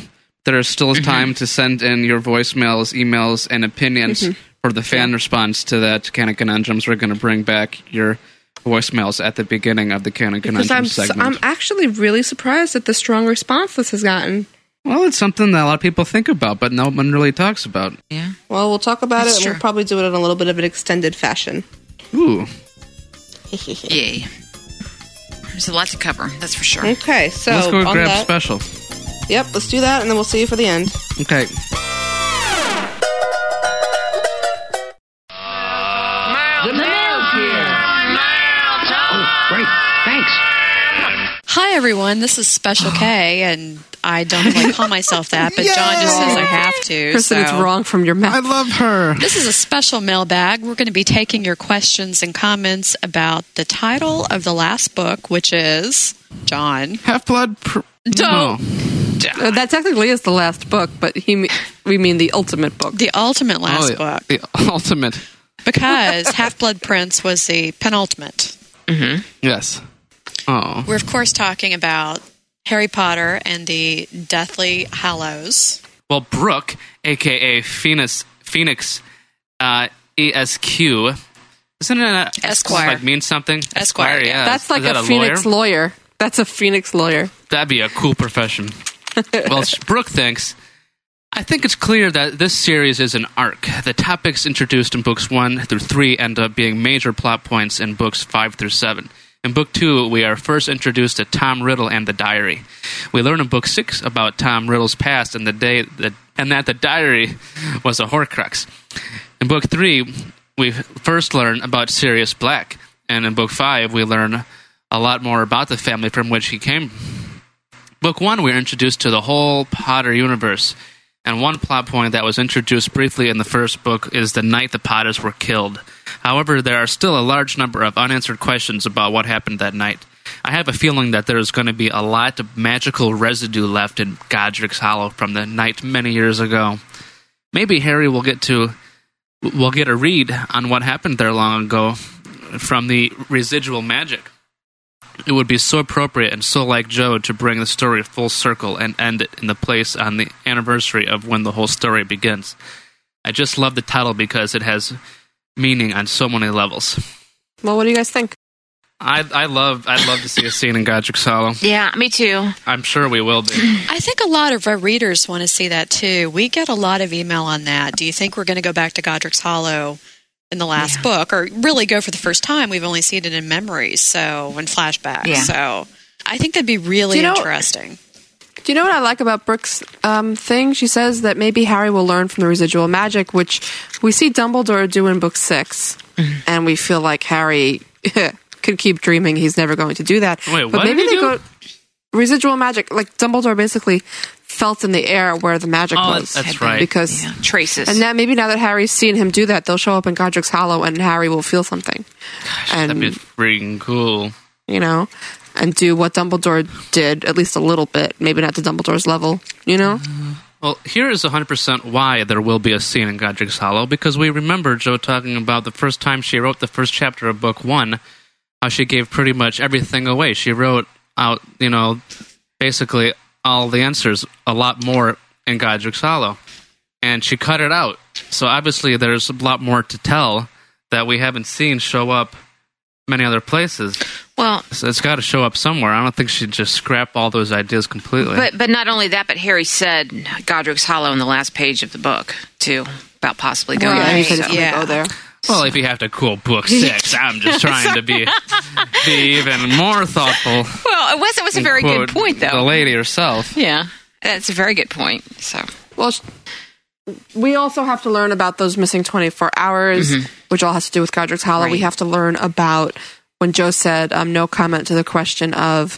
[SPEAKER 8] There is still
[SPEAKER 7] Mm-hmm.
[SPEAKER 8] time to send in your voicemails, emails, and opinions
[SPEAKER 7] Mm-hmm.
[SPEAKER 8] for the fan response to that canon conundrums. We're going to bring back your voicemails at the beginning of the canon
[SPEAKER 7] because I'm
[SPEAKER 8] conundrum
[SPEAKER 7] su-
[SPEAKER 8] segment.
[SPEAKER 7] I'm actually really surprised at the strong response this has gotten.
[SPEAKER 8] well, it's something that a lot of people think about, but no one really talks about.
[SPEAKER 4] Yeah.
[SPEAKER 7] Well, we'll talk about
[SPEAKER 4] That's
[SPEAKER 7] it, and
[SPEAKER 4] true.
[SPEAKER 7] we'll probably do it in a little bit of an extended fashion.
[SPEAKER 8] Ooh,
[SPEAKER 4] Yay. There's a lot to cover. That's for sure.
[SPEAKER 7] Okay, so
[SPEAKER 8] let's go
[SPEAKER 7] on
[SPEAKER 8] grab
[SPEAKER 7] that-
[SPEAKER 8] special.
[SPEAKER 7] Yep, let's do that, and then we'll see you for the end.
[SPEAKER 8] Okay.
[SPEAKER 9] Hi everyone, this is
[SPEAKER 4] [GASPS]
[SPEAKER 9] Special K, and I don't like call myself that, but John just says I have to.
[SPEAKER 7] Kristen, it's
[SPEAKER 9] so-
[SPEAKER 7] wrong from your mouth.
[SPEAKER 8] I love her.
[SPEAKER 9] This is a special mailbag. We're going to be taking your questions and comments about the title of the last book, which is John.
[SPEAKER 8] Half blood. Pr- oh.
[SPEAKER 9] Don't.
[SPEAKER 8] No.
[SPEAKER 7] Uh, that technically is the last book, but he me- we mean the ultimate book.
[SPEAKER 9] The ultimate last
[SPEAKER 8] Oh,
[SPEAKER 9] book,
[SPEAKER 8] The [LAUGHS] ultimate.
[SPEAKER 9] because Half Blood Prince was the penultimate.
[SPEAKER 8] Yes. Oh.
[SPEAKER 9] We're, of course, talking about Harry Potter and the Deathly Hallows.
[SPEAKER 8] Well, Brooke, aka Phoenix, Phoenix, uh, ESQ, isn't it a,
[SPEAKER 9] Esquire.
[SPEAKER 8] Like means something.
[SPEAKER 9] Esquire, yeah.
[SPEAKER 8] yeah.
[SPEAKER 7] That's
[SPEAKER 8] Is
[SPEAKER 7] like
[SPEAKER 8] that
[SPEAKER 7] a, Phoenix
[SPEAKER 8] lawyer?
[SPEAKER 7] lawyer? That's a Phoenix lawyer.
[SPEAKER 8] That'd be a cool profession. well, sh- Brooke thinks. I think it's clear that this series is an arc. The topics introduced in books one through three end up being major plot points in books five through seven. In book two, we are first introduced to Tom Riddle and the diary. We learn in book six about Tom Riddle's past and the day that, and that the diary was a Horcrux. In book three, we first learn about Sirius Black, and in book five, we learn a lot more about the family from which he came. Book one, we're introduced to the whole Potter universe. And one plot point that was introduced briefly in the first book is the night the Potters were killed. However, there are still a large number of unanswered questions about what happened that night. I have a feeling that there is going to be a lot of magical residue left in Godric's Hollow from the night many years ago. Maybe Harry will get to will get a read on what happened there long ago from the residual magic. It would be so appropriate and so like Joe to bring the story full circle and end it in the place on the anniversary of when the whole story begins. I just love the title because it has meaning on so many levels.
[SPEAKER 7] Well, what do you guys think?
[SPEAKER 8] I I love I'd love to see a scene in Godric's Hollow.
[SPEAKER 4] Yeah, me too.
[SPEAKER 8] I'm sure we will be.
[SPEAKER 6] I think a lot of our readers want to see that too. We get a lot of email on
[SPEAKER 9] Uh,
[SPEAKER 6] that. Do you think we're going to go back to Godric's Hollow in the last book or really go for the first time? We've only seen it in memories, so in flashbacks.
[SPEAKER 4] Yeah.
[SPEAKER 6] So I think that'd be really
[SPEAKER 7] Do you know-
[SPEAKER 6] interesting.
[SPEAKER 7] Do you know what I like about Brooke's um, thing? She says that maybe Harry will learn from the residual magic, which we see Dumbledore do in Book 6
[SPEAKER 8] Mm-hmm.
[SPEAKER 7] and we feel like Harry [LAUGHS] could keep dreaming he's never going to do that.
[SPEAKER 8] Wait, what did he do?
[SPEAKER 7] residual magic. Like Dumbledore basically felt in the air where the magic
[SPEAKER 8] Oh,
[SPEAKER 7] was.
[SPEAKER 8] that's Had been- right.
[SPEAKER 7] Because
[SPEAKER 4] Yeah. Traces.
[SPEAKER 7] and now maybe now that Harry's seen him do that, they'll show up in Godric's Hollow, and Harry will feel something,
[SPEAKER 8] That'd
[SPEAKER 7] and
[SPEAKER 8] be freaking cool.
[SPEAKER 7] you know, and do what Dumbledore did at least a little bit, maybe not to Dumbledore's level, you know.
[SPEAKER 8] Well, here is 100% why there will be a scene in Godric's Hollow, because we remember Joe talking about the first time she wrote the first chapter of Book One, how she gave pretty much everything away. She wrote out, you know, basically all the answers, a lot more in Godric's Hollow. And she cut it out. So obviously, there's a lot more to tell that we haven't seen show up many other places.
[SPEAKER 4] Well,
[SPEAKER 8] So it's got to show up somewhere. I don't think she'd just scrap all those ideas completely.
[SPEAKER 4] but but not only that, but Harry said Godric's Hollow in the last page of the book too about possibly going
[SPEAKER 7] Yeah,
[SPEAKER 4] there.
[SPEAKER 7] he said he's
[SPEAKER 4] so-
[SPEAKER 7] gonna
[SPEAKER 6] yeah.
[SPEAKER 7] go there.
[SPEAKER 8] Well, if you have to cool book
[SPEAKER 4] [LAUGHS]
[SPEAKER 8] six, I'm just trying to be be even more thoughtful.
[SPEAKER 4] Well, it was it was a very
[SPEAKER 8] Quote
[SPEAKER 4] good point
[SPEAKER 8] The
[SPEAKER 4] though.
[SPEAKER 8] lady herself.
[SPEAKER 4] Yeah, that's a very good point. So
[SPEAKER 7] Well, sh- we also have to learn about those missing 24 hours, which all has to do with Godric's Hollow. We
[SPEAKER 4] Right.
[SPEAKER 7] have to learn about when Joe said um, no comment to the question of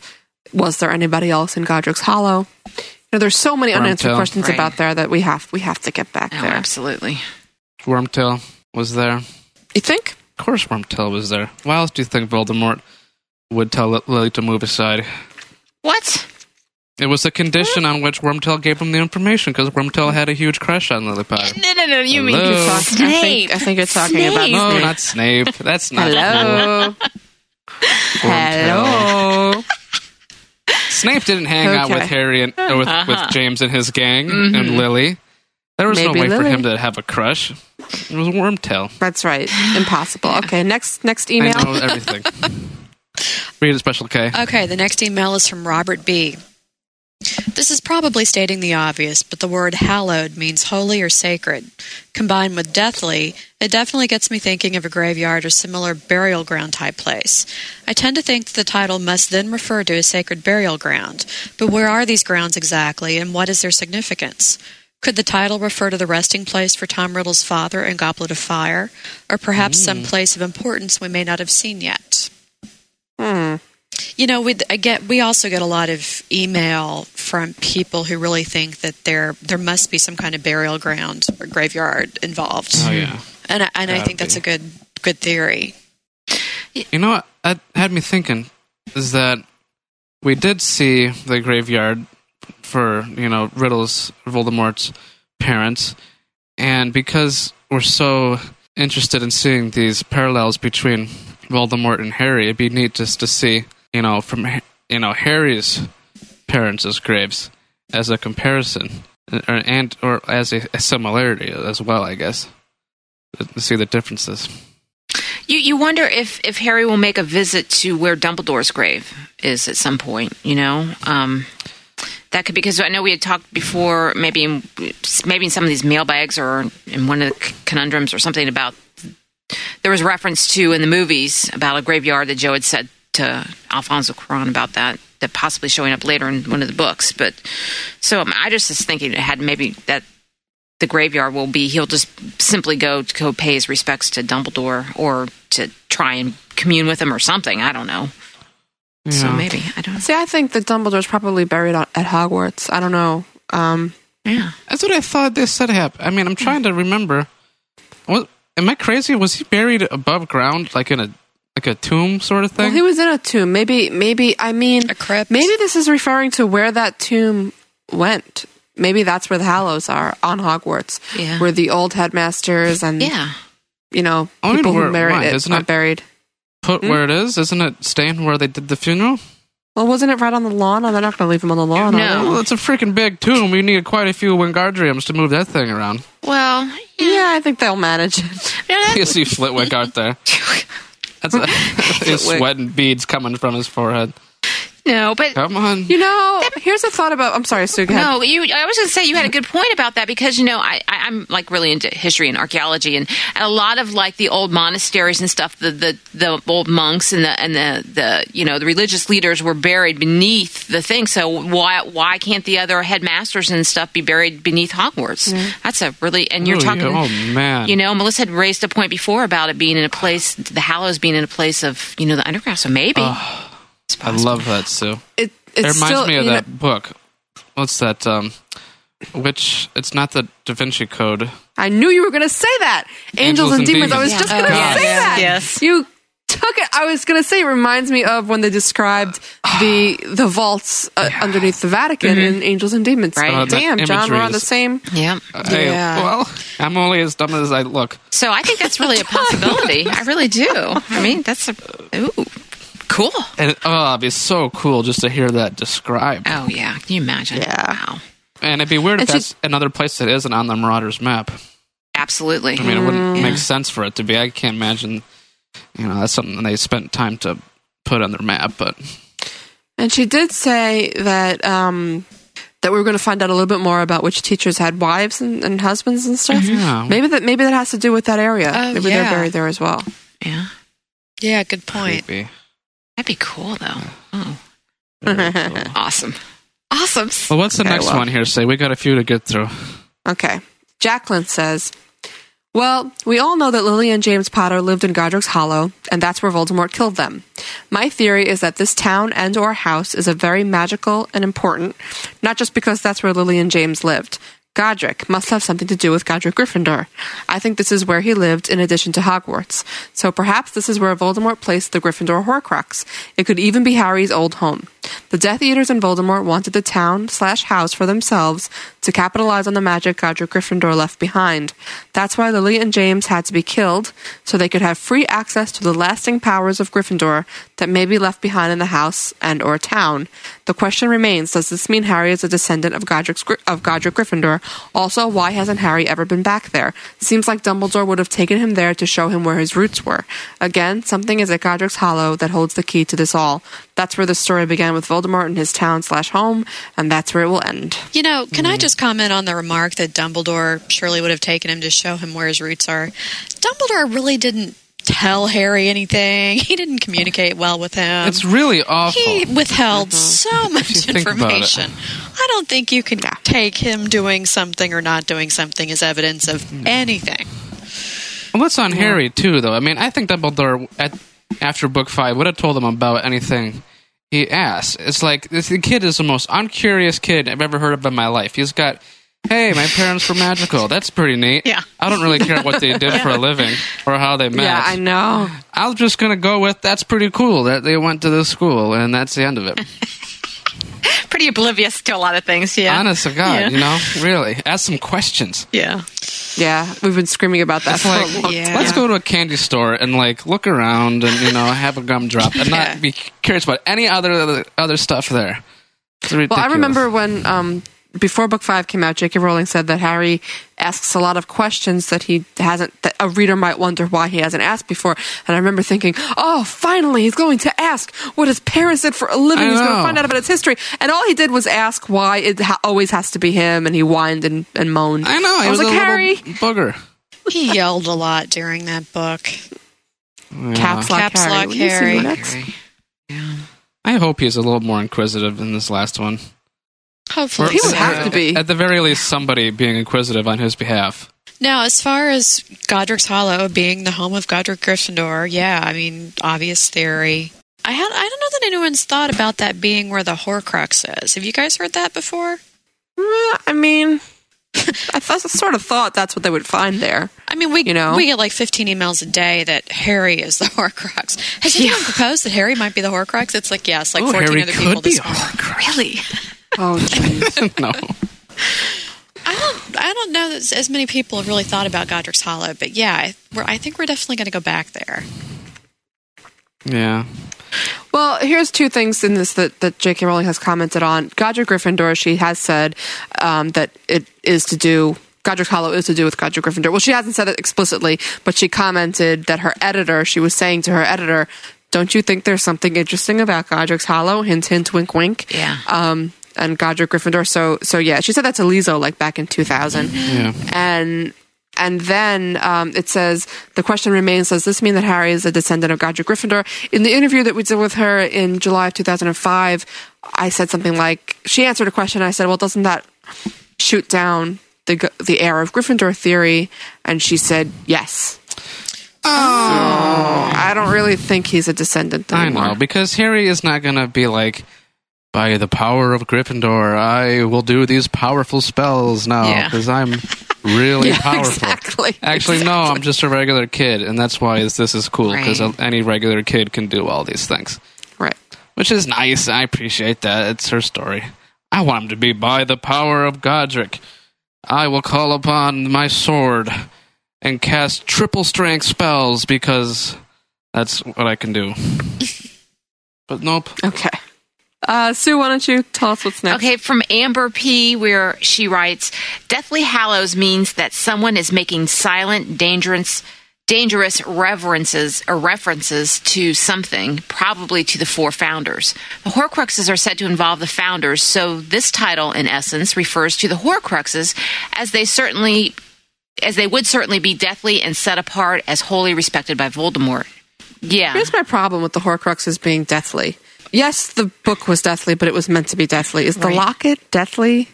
[SPEAKER 7] was there anybody else in Godric's Hollow. You know, there's so many
[SPEAKER 8] Wormtail.
[SPEAKER 7] unanswered questions
[SPEAKER 4] Right.
[SPEAKER 7] about there that we have we have to get back
[SPEAKER 4] no,
[SPEAKER 7] there.
[SPEAKER 4] absolutely.
[SPEAKER 8] Wormtail was there. Of
[SPEAKER 7] You think?
[SPEAKER 8] course, Wormtail was there. Why else do you think Voldemort would tell Li- Lily to move aside?
[SPEAKER 4] What?
[SPEAKER 8] It was a condition on which Wormtail gave him the information because Wormtail had a huge crush on Lily Potter.
[SPEAKER 4] No, no, no. You
[SPEAKER 8] mean Hello?
[SPEAKER 7] Fuck, I think I think you're talking about
[SPEAKER 4] Snape.
[SPEAKER 8] No, Oh, not Snape. That's not
[SPEAKER 7] Hello.
[SPEAKER 8] cool. Wormtail.
[SPEAKER 7] Hello.
[SPEAKER 8] [LAUGHS] Snape didn't hang out
[SPEAKER 7] Okay. Mm-hmm.
[SPEAKER 8] with Harry and or with, with James and his gang and Lily. There was no
[SPEAKER 7] Maybe
[SPEAKER 8] way for
[SPEAKER 7] Lily.
[SPEAKER 8] him to have a crush. It was Wormtail.
[SPEAKER 7] [LAUGHS] That's right. Impossible. Okay, next next
[SPEAKER 8] I
[SPEAKER 7] email. [LAUGHS]
[SPEAKER 8] know everything. Read a special K.
[SPEAKER 6] Okay, the next email is from Robert B. This is probably stating the obvious, but the word hallowed means holy or sacred. Combined with deathly, it definitely gets me thinking of a graveyard or similar burial ground type place. I tend to think the title must then refer to a sacred burial ground, but where are these grounds exactly and what is their significance? Could the title refer to the resting place for Tom Riddle's father in Goblet of Fire, or perhaps some place of importance we may not have seen yet? You know, we I get we also get a lot of email from people who really think that there there must be some kind of burial ground or graveyard involved.
[SPEAKER 8] Oh yeah.
[SPEAKER 6] Mm. and I, and I
[SPEAKER 8] Gotta
[SPEAKER 6] think that's
[SPEAKER 8] be.
[SPEAKER 6] a good good theory.
[SPEAKER 8] You know what that had me thinking is that we did see the graveyard for you know Riddle's Voldemort's parents, and because we're so interested in seeing these parallels between Voldemort and Harry, it'd be neat just to see you know from Ha- you know Harry's parents' graves as a comparison, or, and or as a, a similarity as well, I guess. To see the differences.
[SPEAKER 4] You you wonder if if Harry will make a visit to where Dumbledore's grave is at some point. You know, um, that could because I know we had talked before, maybe in, maybe in some of these mailbags or in one of the c- conundrums or something about there was reference to in the movies about a graveyard that Joe had said to Alfonso Cuarón about that that possibly showing up later in one of the books. But so um, I just was thinking it had maybe that the graveyard will be he'll just simply go to go pay his respects to Dumbledore or to try and commune with him or something. I don't know. So
[SPEAKER 10] Yeah.
[SPEAKER 4] maybe I don't.
[SPEAKER 7] See, I think that Dumbledore's probably buried on, at Hogwarts. I don't know. Um,
[SPEAKER 4] Yeah.
[SPEAKER 8] That's what I thought they said happened. I mean, I'm trying to remember. What, am I crazy? Was he buried above ground, like in a like a tomb sort of
[SPEAKER 7] well,
[SPEAKER 8] thing?
[SPEAKER 7] he was in a tomb. Maybe, maybe. I mean,
[SPEAKER 11] A crypt.
[SPEAKER 7] Maybe this is referring to where that tomb went. Maybe that's where the Hallows are on Hogwarts,
[SPEAKER 4] Yeah.
[SPEAKER 7] where the old headmasters and
[SPEAKER 4] Yeah.
[SPEAKER 7] you know
[SPEAKER 8] Only
[SPEAKER 7] people
[SPEAKER 8] where
[SPEAKER 7] who
[SPEAKER 8] it
[SPEAKER 7] buried
[SPEAKER 8] went,
[SPEAKER 7] it
[SPEAKER 8] isn't
[SPEAKER 7] are
[SPEAKER 8] it?
[SPEAKER 7] buried.
[SPEAKER 8] Put where it is, isn't it? Staying where they did the funeral.
[SPEAKER 7] Well, wasn't it right on the lawn? They're not going to leave him on the lawn. are
[SPEAKER 4] No.
[SPEAKER 8] Well, it's a freaking big tomb. You need quite a few Wingardiums to move that thing around. [LAUGHS]
[SPEAKER 4] Well.
[SPEAKER 7] they? [LAUGHS] Yeah, I think they'll manage it.
[SPEAKER 4] Yeah,
[SPEAKER 8] You see Flitwick out there. That's [LAUGHS]
[SPEAKER 7] [LAUGHS]
[SPEAKER 8] his
[SPEAKER 7] Flitwick.
[SPEAKER 8] sweat and beads coming from his forehead.
[SPEAKER 4] no, but
[SPEAKER 8] Come on.
[SPEAKER 7] You know, here's a thought about. I'm sorry, Sue. Go ahead.
[SPEAKER 4] No, you. I was going to say you had a good point about that because you know I, I I'm like really into history and archaeology and, and a lot of like the old monasteries and stuff. The the the old monks and the and the the you know the religious leaders were buried beneath the thing. So why why can't the other headmasters and stuff be buried beneath Hogwarts? That's a really and you're
[SPEAKER 8] Ooh,
[SPEAKER 4] talking.
[SPEAKER 8] yeah. Mm. Oh, man.
[SPEAKER 4] You know, Melissa had raised a point before about it being in a place, the Hallows being in a place of you know the underground. So maybe
[SPEAKER 8] I love that, Sue.
[SPEAKER 7] It, it's
[SPEAKER 8] it reminds
[SPEAKER 7] still,
[SPEAKER 8] me of
[SPEAKER 7] you know-
[SPEAKER 8] that book. What's that? Um, which it's not the Da Vinci Code.
[SPEAKER 7] I knew you were going to say that. Angels,
[SPEAKER 8] Angels
[SPEAKER 7] and,
[SPEAKER 8] and
[SPEAKER 7] demons. I was
[SPEAKER 8] Demons.
[SPEAKER 7] just
[SPEAKER 11] Yeah.
[SPEAKER 7] going to
[SPEAKER 11] Oh, yes.
[SPEAKER 7] say that.
[SPEAKER 11] Yes.
[SPEAKER 7] You took it. I was going to say it reminds me of when they described the the vaults uh, underneath the Vatican
[SPEAKER 11] Mm-hmm.
[SPEAKER 7] in Angels and Demons.
[SPEAKER 4] Right. Oh,
[SPEAKER 8] that
[SPEAKER 7] Damn, John,
[SPEAKER 8] imagery
[SPEAKER 7] we're on the
[SPEAKER 8] is-
[SPEAKER 7] same.
[SPEAKER 4] yeah.
[SPEAKER 8] Hey,
[SPEAKER 11] Yeah.
[SPEAKER 8] well, I'm only as dumb as I look.
[SPEAKER 4] So I think
[SPEAKER 11] [LAUGHS]
[SPEAKER 4] that's really a possibility. I really do. I mean, that's a ooh, cool.
[SPEAKER 8] And oh, it'd be so cool just to hear that described.
[SPEAKER 4] Oh yeah, can you imagine?
[SPEAKER 7] Yeah.
[SPEAKER 4] wow,
[SPEAKER 8] And it'd be weird if
[SPEAKER 7] It's
[SPEAKER 8] that's another place that isn't on the Marauders map.
[SPEAKER 4] absolutely.
[SPEAKER 8] I mean, it wouldn't
[SPEAKER 7] Mm.
[SPEAKER 4] Yeah.
[SPEAKER 8] make sense for it to be. I can't imagine. You know, that's something they spent time to put on their map, but
[SPEAKER 7] And she did say that um, that we were going to find out a little bit more about which teachers had wives and, and husbands and stuff.
[SPEAKER 8] Yeah.
[SPEAKER 7] Maybe that maybe that has to do with that area.
[SPEAKER 11] Oh,
[SPEAKER 7] maybe
[SPEAKER 11] yeah.
[SPEAKER 7] they're buried there as well.
[SPEAKER 4] yeah,
[SPEAKER 11] Yeah, good point.
[SPEAKER 8] creepy.
[SPEAKER 4] that'd be cool though. Oh,
[SPEAKER 11] [LAUGHS]
[SPEAKER 8] Very cool.
[SPEAKER 4] awesome, awesome.
[SPEAKER 8] well, what's the
[SPEAKER 7] Okay,
[SPEAKER 8] next
[SPEAKER 7] well.
[SPEAKER 8] one here? Say we got a few to get through.
[SPEAKER 7] Okay. Jacqueline says, Well, we all know that Lily and James Potter lived in Godric's Hollow, and that's where Voldemort killed them. My theory is that this town and or house is a very magical and important, not just because that's where Lily and James lived. Godric must have something to do with Godric Gryffindor. I think this is where he lived in addition to Hogwarts. So perhaps this is where Voldemort placed the Gryffindor Horcrux. It could even be Harry's old home. The Death Eaters and Voldemort wanted the town slash house for themselves to capitalize on the magic Godric Gryffindor left behind. That's why Lily and James had to be killed, so they could have free access to the lasting powers of Gryffindor that may be left behind in the house and or town. The question remains: Does this mean Harry is a descendant of Godric's, Gry- of Godric Gryffindor? Also, why hasn't Harry ever been back there? Seems like Dumbledore would have taken him there to show him where his roots were. Again, something is at Godric's Hollow that holds the key to this all. That's where the story began with Voldemort and his town slash home, and that's where it will end.
[SPEAKER 11] You know, can
[SPEAKER 4] Mm.
[SPEAKER 11] I just comment on the remark that Dumbledore surely would have taken him to show him where his roots are? Dumbledore really didn't tell Harry anything. [LAUGHS] He didn't communicate well with him.
[SPEAKER 8] It's
[SPEAKER 7] Um,
[SPEAKER 8] really awful. Mm-hmm.
[SPEAKER 11] he withheld so much
[SPEAKER 8] you think about it.
[SPEAKER 11] information. I don't think you can take him doing something or not doing something as evidence of
[SPEAKER 8] Mm.
[SPEAKER 11] anything.
[SPEAKER 8] Well, that's on Harry too, though. I mean, I think Dumbledore at, after Book Five would have told him about anything he asked. It's like this the kid is the most uncurious kid I've ever heard of in my life. He's got, hey, my parents were magical. That's pretty neat.
[SPEAKER 11] Yeah.
[SPEAKER 8] I don't really care what they did for a living or how they met.
[SPEAKER 7] Yeah, I know.
[SPEAKER 8] I'm just gonna go with that's pretty cool that they went to this school, and that's the end of it.
[SPEAKER 4] Pretty oblivious to a lot of things. Yeah,
[SPEAKER 8] Honest to God,
[SPEAKER 11] Yeah.
[SPEAKER 8] you know, really, ask some questions.
[SPEAKER 11] Yeah.
[SPEAKER 7] Yeah, we've been screaming about that
[SPEAKER 8] It's
[SPEAKER 7] for a
[SPEAKER 8] like
[SPEAKER 7] long
[SPEAKER 11] Yeah.
[SPEAKER 8] let's go to a candy store and like look around and you know have a gumdrop and
[SPEAKER 11] Yeah.
[SPEAKER 8] not be curious about any other other, other stuff there. It's ridiculous.
[SPEAKER 7] Well, I remember when um, before book five came out, J.K. Rowling said that Harry asks a lot of questions that he hasn't. That a reader might wonder why he hasn't asked before. And I remember thinking, "Oh, finally, he's going to ask what his parents did for a living.
[SPEAKER 8] I
[SPEAKER 7] He's going to
[SPEAKER 8] know.
[SPEAKER 7] find out about his history." And all he did was ask why it ha- always has to be him, and he whined and, and moaned.
[SPEAKER 8] I know. It
[SPEAKER 7] I was,
[SPEAKER 8] was,
[SPEAKER 7] like,
[SPEAKER 8] a
[SPEAKER 7] Harry,
[SPEAKER 8] little booger.
[SPEAKER 11] He yelled a lot during that book.
[SPEAKER 7] caps lock
[SPEAKER 11] Caps
[SPEAKER 7] Harry.
[SPEAKER 11] lock
[SPEAKER 7] Will you see
[SPEAKER 11] Harry.
[SPEAKER 7] next?
[SPEAKER 8] I hope he's a little more inquisitive in this last one.
[SPEAKER 3] Hopefully,
[SPEAKER 8] Or- At the very least, somebody being inquisitive on his behalf. [LAUGHS]
[SPEAKER 3] Now, as far as Godric's Hollow being the home of Godric Gryffindor, yeah, I mean, obvious theory. I had I don't know that anyone's thought about that being where the Horcrux is. Have you guys heard that before?
[SPEAKER 7] Uh, I mean, [LAUGHS] I thought, sort of thought that's what they would find there.
[SPEAKER 3] I mean, we
[SPEAKER 7] You know?
[SPEAKER 3] we get like 15 emails a day that Harry is the [LAUGHS] Horcrux. Has anyone proposed that Harry might be the Horcrux? It's like yes, like
[SPEAKER 8] Oh,
[SPEAKER 3] 14
[SPEAKER 8] Harry
[SPEAKER 3] other
[SPEAKER 8] could
[SPEAKER 3] people
[SPEAKER 8] be
[SPEAKER 3] this
[SPEAKER 8] a
[SPEAKER 3] morning. Really?
[SPEAKER 7] Oh, jeez.
[SPEAKER 8] no.
[SPEAKER 3] I don't I don't know that as many people have really thought about Godric's Hollow, but yeah, I, we're, I think we're definitely going to go back there.
[SPEAKER 8] Yeah.
[SPEAKER 7] [LAUGHS] Well, here's two things in this that, that J.K. Rowling has commented on. Godric Gryffindor, she has said um, that it is to do, Godric Hollow is to do with Godric Gryffindor. Well, she hasn't said it explicitly, but she commented that her editor, she was saying to her editor, don't you think there's something interesting about Godric's Hollow? Hint, hint, wink, wink.
[SPEAKER 12] Yeah.
[SPEAKER 7] Um, and Godric Gryffindor. So, so yeah, she said that to Lizzo like back in 2000.
[SPEAKER 8] Yeah.
[SPEAKER 7] and and then um, it says the question remains: Does this mean that Harry is a descendant of Godric Gryffindor? In the interview that we did with her in July of 2005, I said something like she answered a question. I said, "Well, doesn't that shoot down the g- the heir of Gryffindor theory?" And she said, "Yes." Oh, I don't really think he's a descendant
[SPEAKER 8] I
[SPEAKER 7] anymore.
[SPEAKER 8] know, because Harry is not going to be like, by the power of Gryffindor, I will do these powerful spells now
[SPEAKER 3] Yeah.
[SPEAKER 8] because I'm
[SPEAKER 7] [LAUGHS]
[SPEAKER 8] really
[SPEAKER 7] Yeah,
[SPEAKER 8] powerful.
[SPEAKER 7] exactly.
[SPEAKER 8] Actually, no, I'm just a regular kid, and that's why is- this is cool because
[SPEAKER 12] Right.
[SPEAKER 8] any regular kid can do all these things,
[SPEAKER 7] Right.
[SPEAKER 8] which is nice. I appreciate that. It's her story. I want him to be by the power of Godric. I will call upon my sword and cast triple strength spells because that's what I
[SPEAKER 7] [LAUGHS]
[SPEAKER 8] can do. But nope.
[SPEAKER 7] Okay. Uh, Sue, why don't you tell us what's next?
[SPEAKER 4] Okay, from Amber P, where she writes, "Deathly Hallows means that someone is making silent, dangerous, dangerous reverences or references to something, probably to the four founders. The Horcruxes are said to involve the founders, so this title, in essence, refers to the Horcruxes, as they certainly, as they would certainly be deathly and set apart as wholly respected by Voldemort. Yeah,
[SPEAKER 7] Here's my problem with the Horcruxes being deathly. Yes, the book was deathly, but it was meant to be deathly. Is the
[SPEAKER 4] Right.
[SPEAKER 7] locket deathly?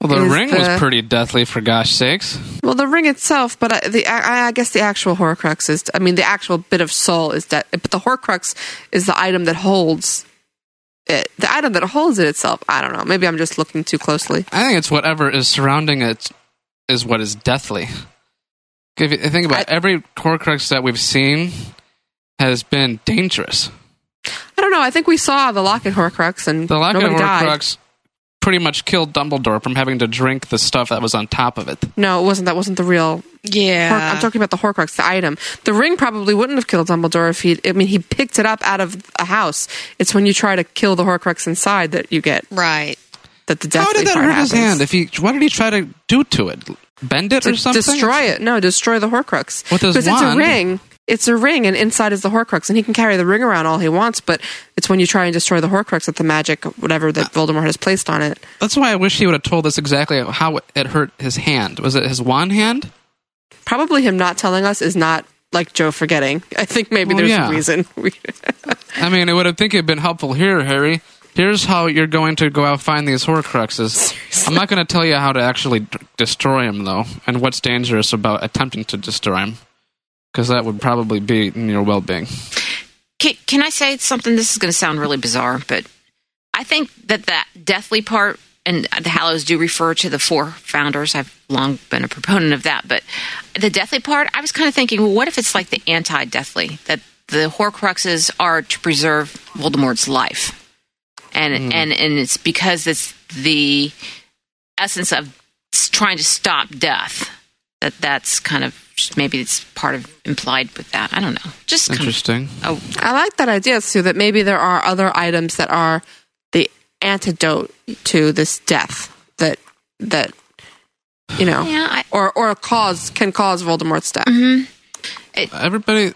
[SPEAKER 8] Well, the
[SPEAKER 7] is
[SPEAKER 8] ring
[SPEAKER 7] the-
[SPEAKER 8] was pretty deathly, for gosh sakes.
[SPEAKER 7] Well, the ring itself, but I, the I, I guess the actual Horcrux is. I mean, the actual bit of soul is death. But the Horcrux is the item that holds it. The item that holds it itself. I don't know. Maybe I'm just looking too closely.
[SPEAKER 8] I think it's whatever is surrounding it is what is deathly. If you think about it, every Horcrux that we've seen has been dangerous.
[SPEAKER 7] I don't know. I think we saw the locket Horcrux and
[SPEAKER 8] The lack
[SPEAKER 7] nobody
[SPEAKER 8] of
[SPEAKER 7] died.
[SPEAKER 8] Horcrux pretty much killed Dumbledore from having to drink the stuff that was on top of it.
[SPEAKER 7] No, it wasn't. That wasn't the real. Horc-
[SPEAKER 3] Yeah,
[SPEAKER 7] I'm talking about the Horcrux, the item. The ring probably wouldn't have killed Dumbledore if he. I mean, he picked it up out of a house. It's when you try to kill the Horcrux inside that you get
[SPEAKER 3] right.
[SPEAKER 7] that the death.
[SPEAKER 8] How did that
[SPEAKER 7] part
[SPEAKER 8] hurt
[SPEAKER 7] happens.
[SPEAKER 8] his hand? If he, what did he try to do to it? Bend it
[SPEAKER 7] to
[SPEAKER 8] or something?
[SPEAKER 7] destroy it. No, destroy the Horcrux.
[SPEAKER 8] With his
[SPEAKER 7] because it's a
[SPEAKER 8] wand?
[SPEAKER 7] ring. It's a ring, and inside is the Horcrux, and he can carry the ring around all he wants. But it's when you try and destroy the Horcrux that the magic, whatever
[SPEAKER 8] Uh.
[SPEAKER 7] that Voldemort has placed on it.
[SPEAKER 8] That's why I wish he would have told us exactly how it hurt his hand. Was it his wand hand?
[SPEAKER 7] Probably him not telling us is not like Joe forgetting. I think maybe
[SPEAKER 8] Well,
[SPEAKER 7] there's
[SPEAKER 8] yeah.
[SPEAKER 7] a reason. [LAUGHS] We-
[SPEAKER 8] I mean, it would have think it'd been helpful here, Harry. Here's how you're going to go out find these Horcruxes. I'm not going to tell you how to actually d- destroy them, though, and what's dangerous about attempting to destroy them, because that would probably be in your well-being.
[SPEAKER 4] Can, can I say something? This is going to sound really bizarre, but I think that that deathly part and the Hallows do refer to the four founders. I've long been a proponent of that, but the deathly part, I was kind of thinking, well, what if it's like the anti-deathly that the Horcruxes are to preserve Voldemort's life, and and and it's because it's the essence of s- trying to stop death that that's kind of maybe it's part of implied with that. I don't know. Just kind of
[SPEAKER 8] Interesting.
[SPEAKER 4] Oh,
[SPEAKER 7] I like that idea, Sue. That maybe there are other items that are the antidote to this death. That that you know,
[SPEAKER 4] Yeah, I-
[SPEAKER 7] or or cause can cause Voldemort's death.
[SPEAKER 8] Everybody,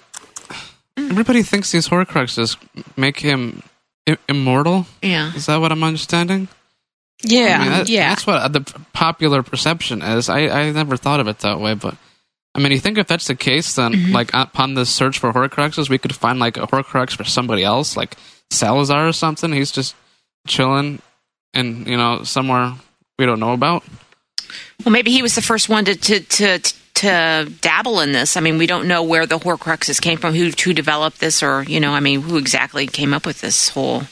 [SPEAKER 8] everybody thinks these Horcruxes make him I- immortal.
[SPEAKER 4] yeah.
[SPEAKER 8] Is that what I'm understanding?
[SPEAKER 3] Yeah,
[SPEAKER 8] I mean, that-
[SPEAKER 3] yeah.
[SPEAKER 8] That's what the popular perception is. I, I never thought of it that way, but I mean, you think if that's the case, then
[SPEAKER 3] Mm-hmm.
[SPEAKER 8] like upon this search for Horcruxes, we could find like a Horcrux for somebody else, like Salazar or something. He's just chilling and you know somewhere we don't know about.
[SPEAKER 4] Well, maybe he was the first one to to to, to dabble in this. I mean, we don't know where the Horcruxes came from, who who developed this, or you know, I mean, who exactly came up with this whole.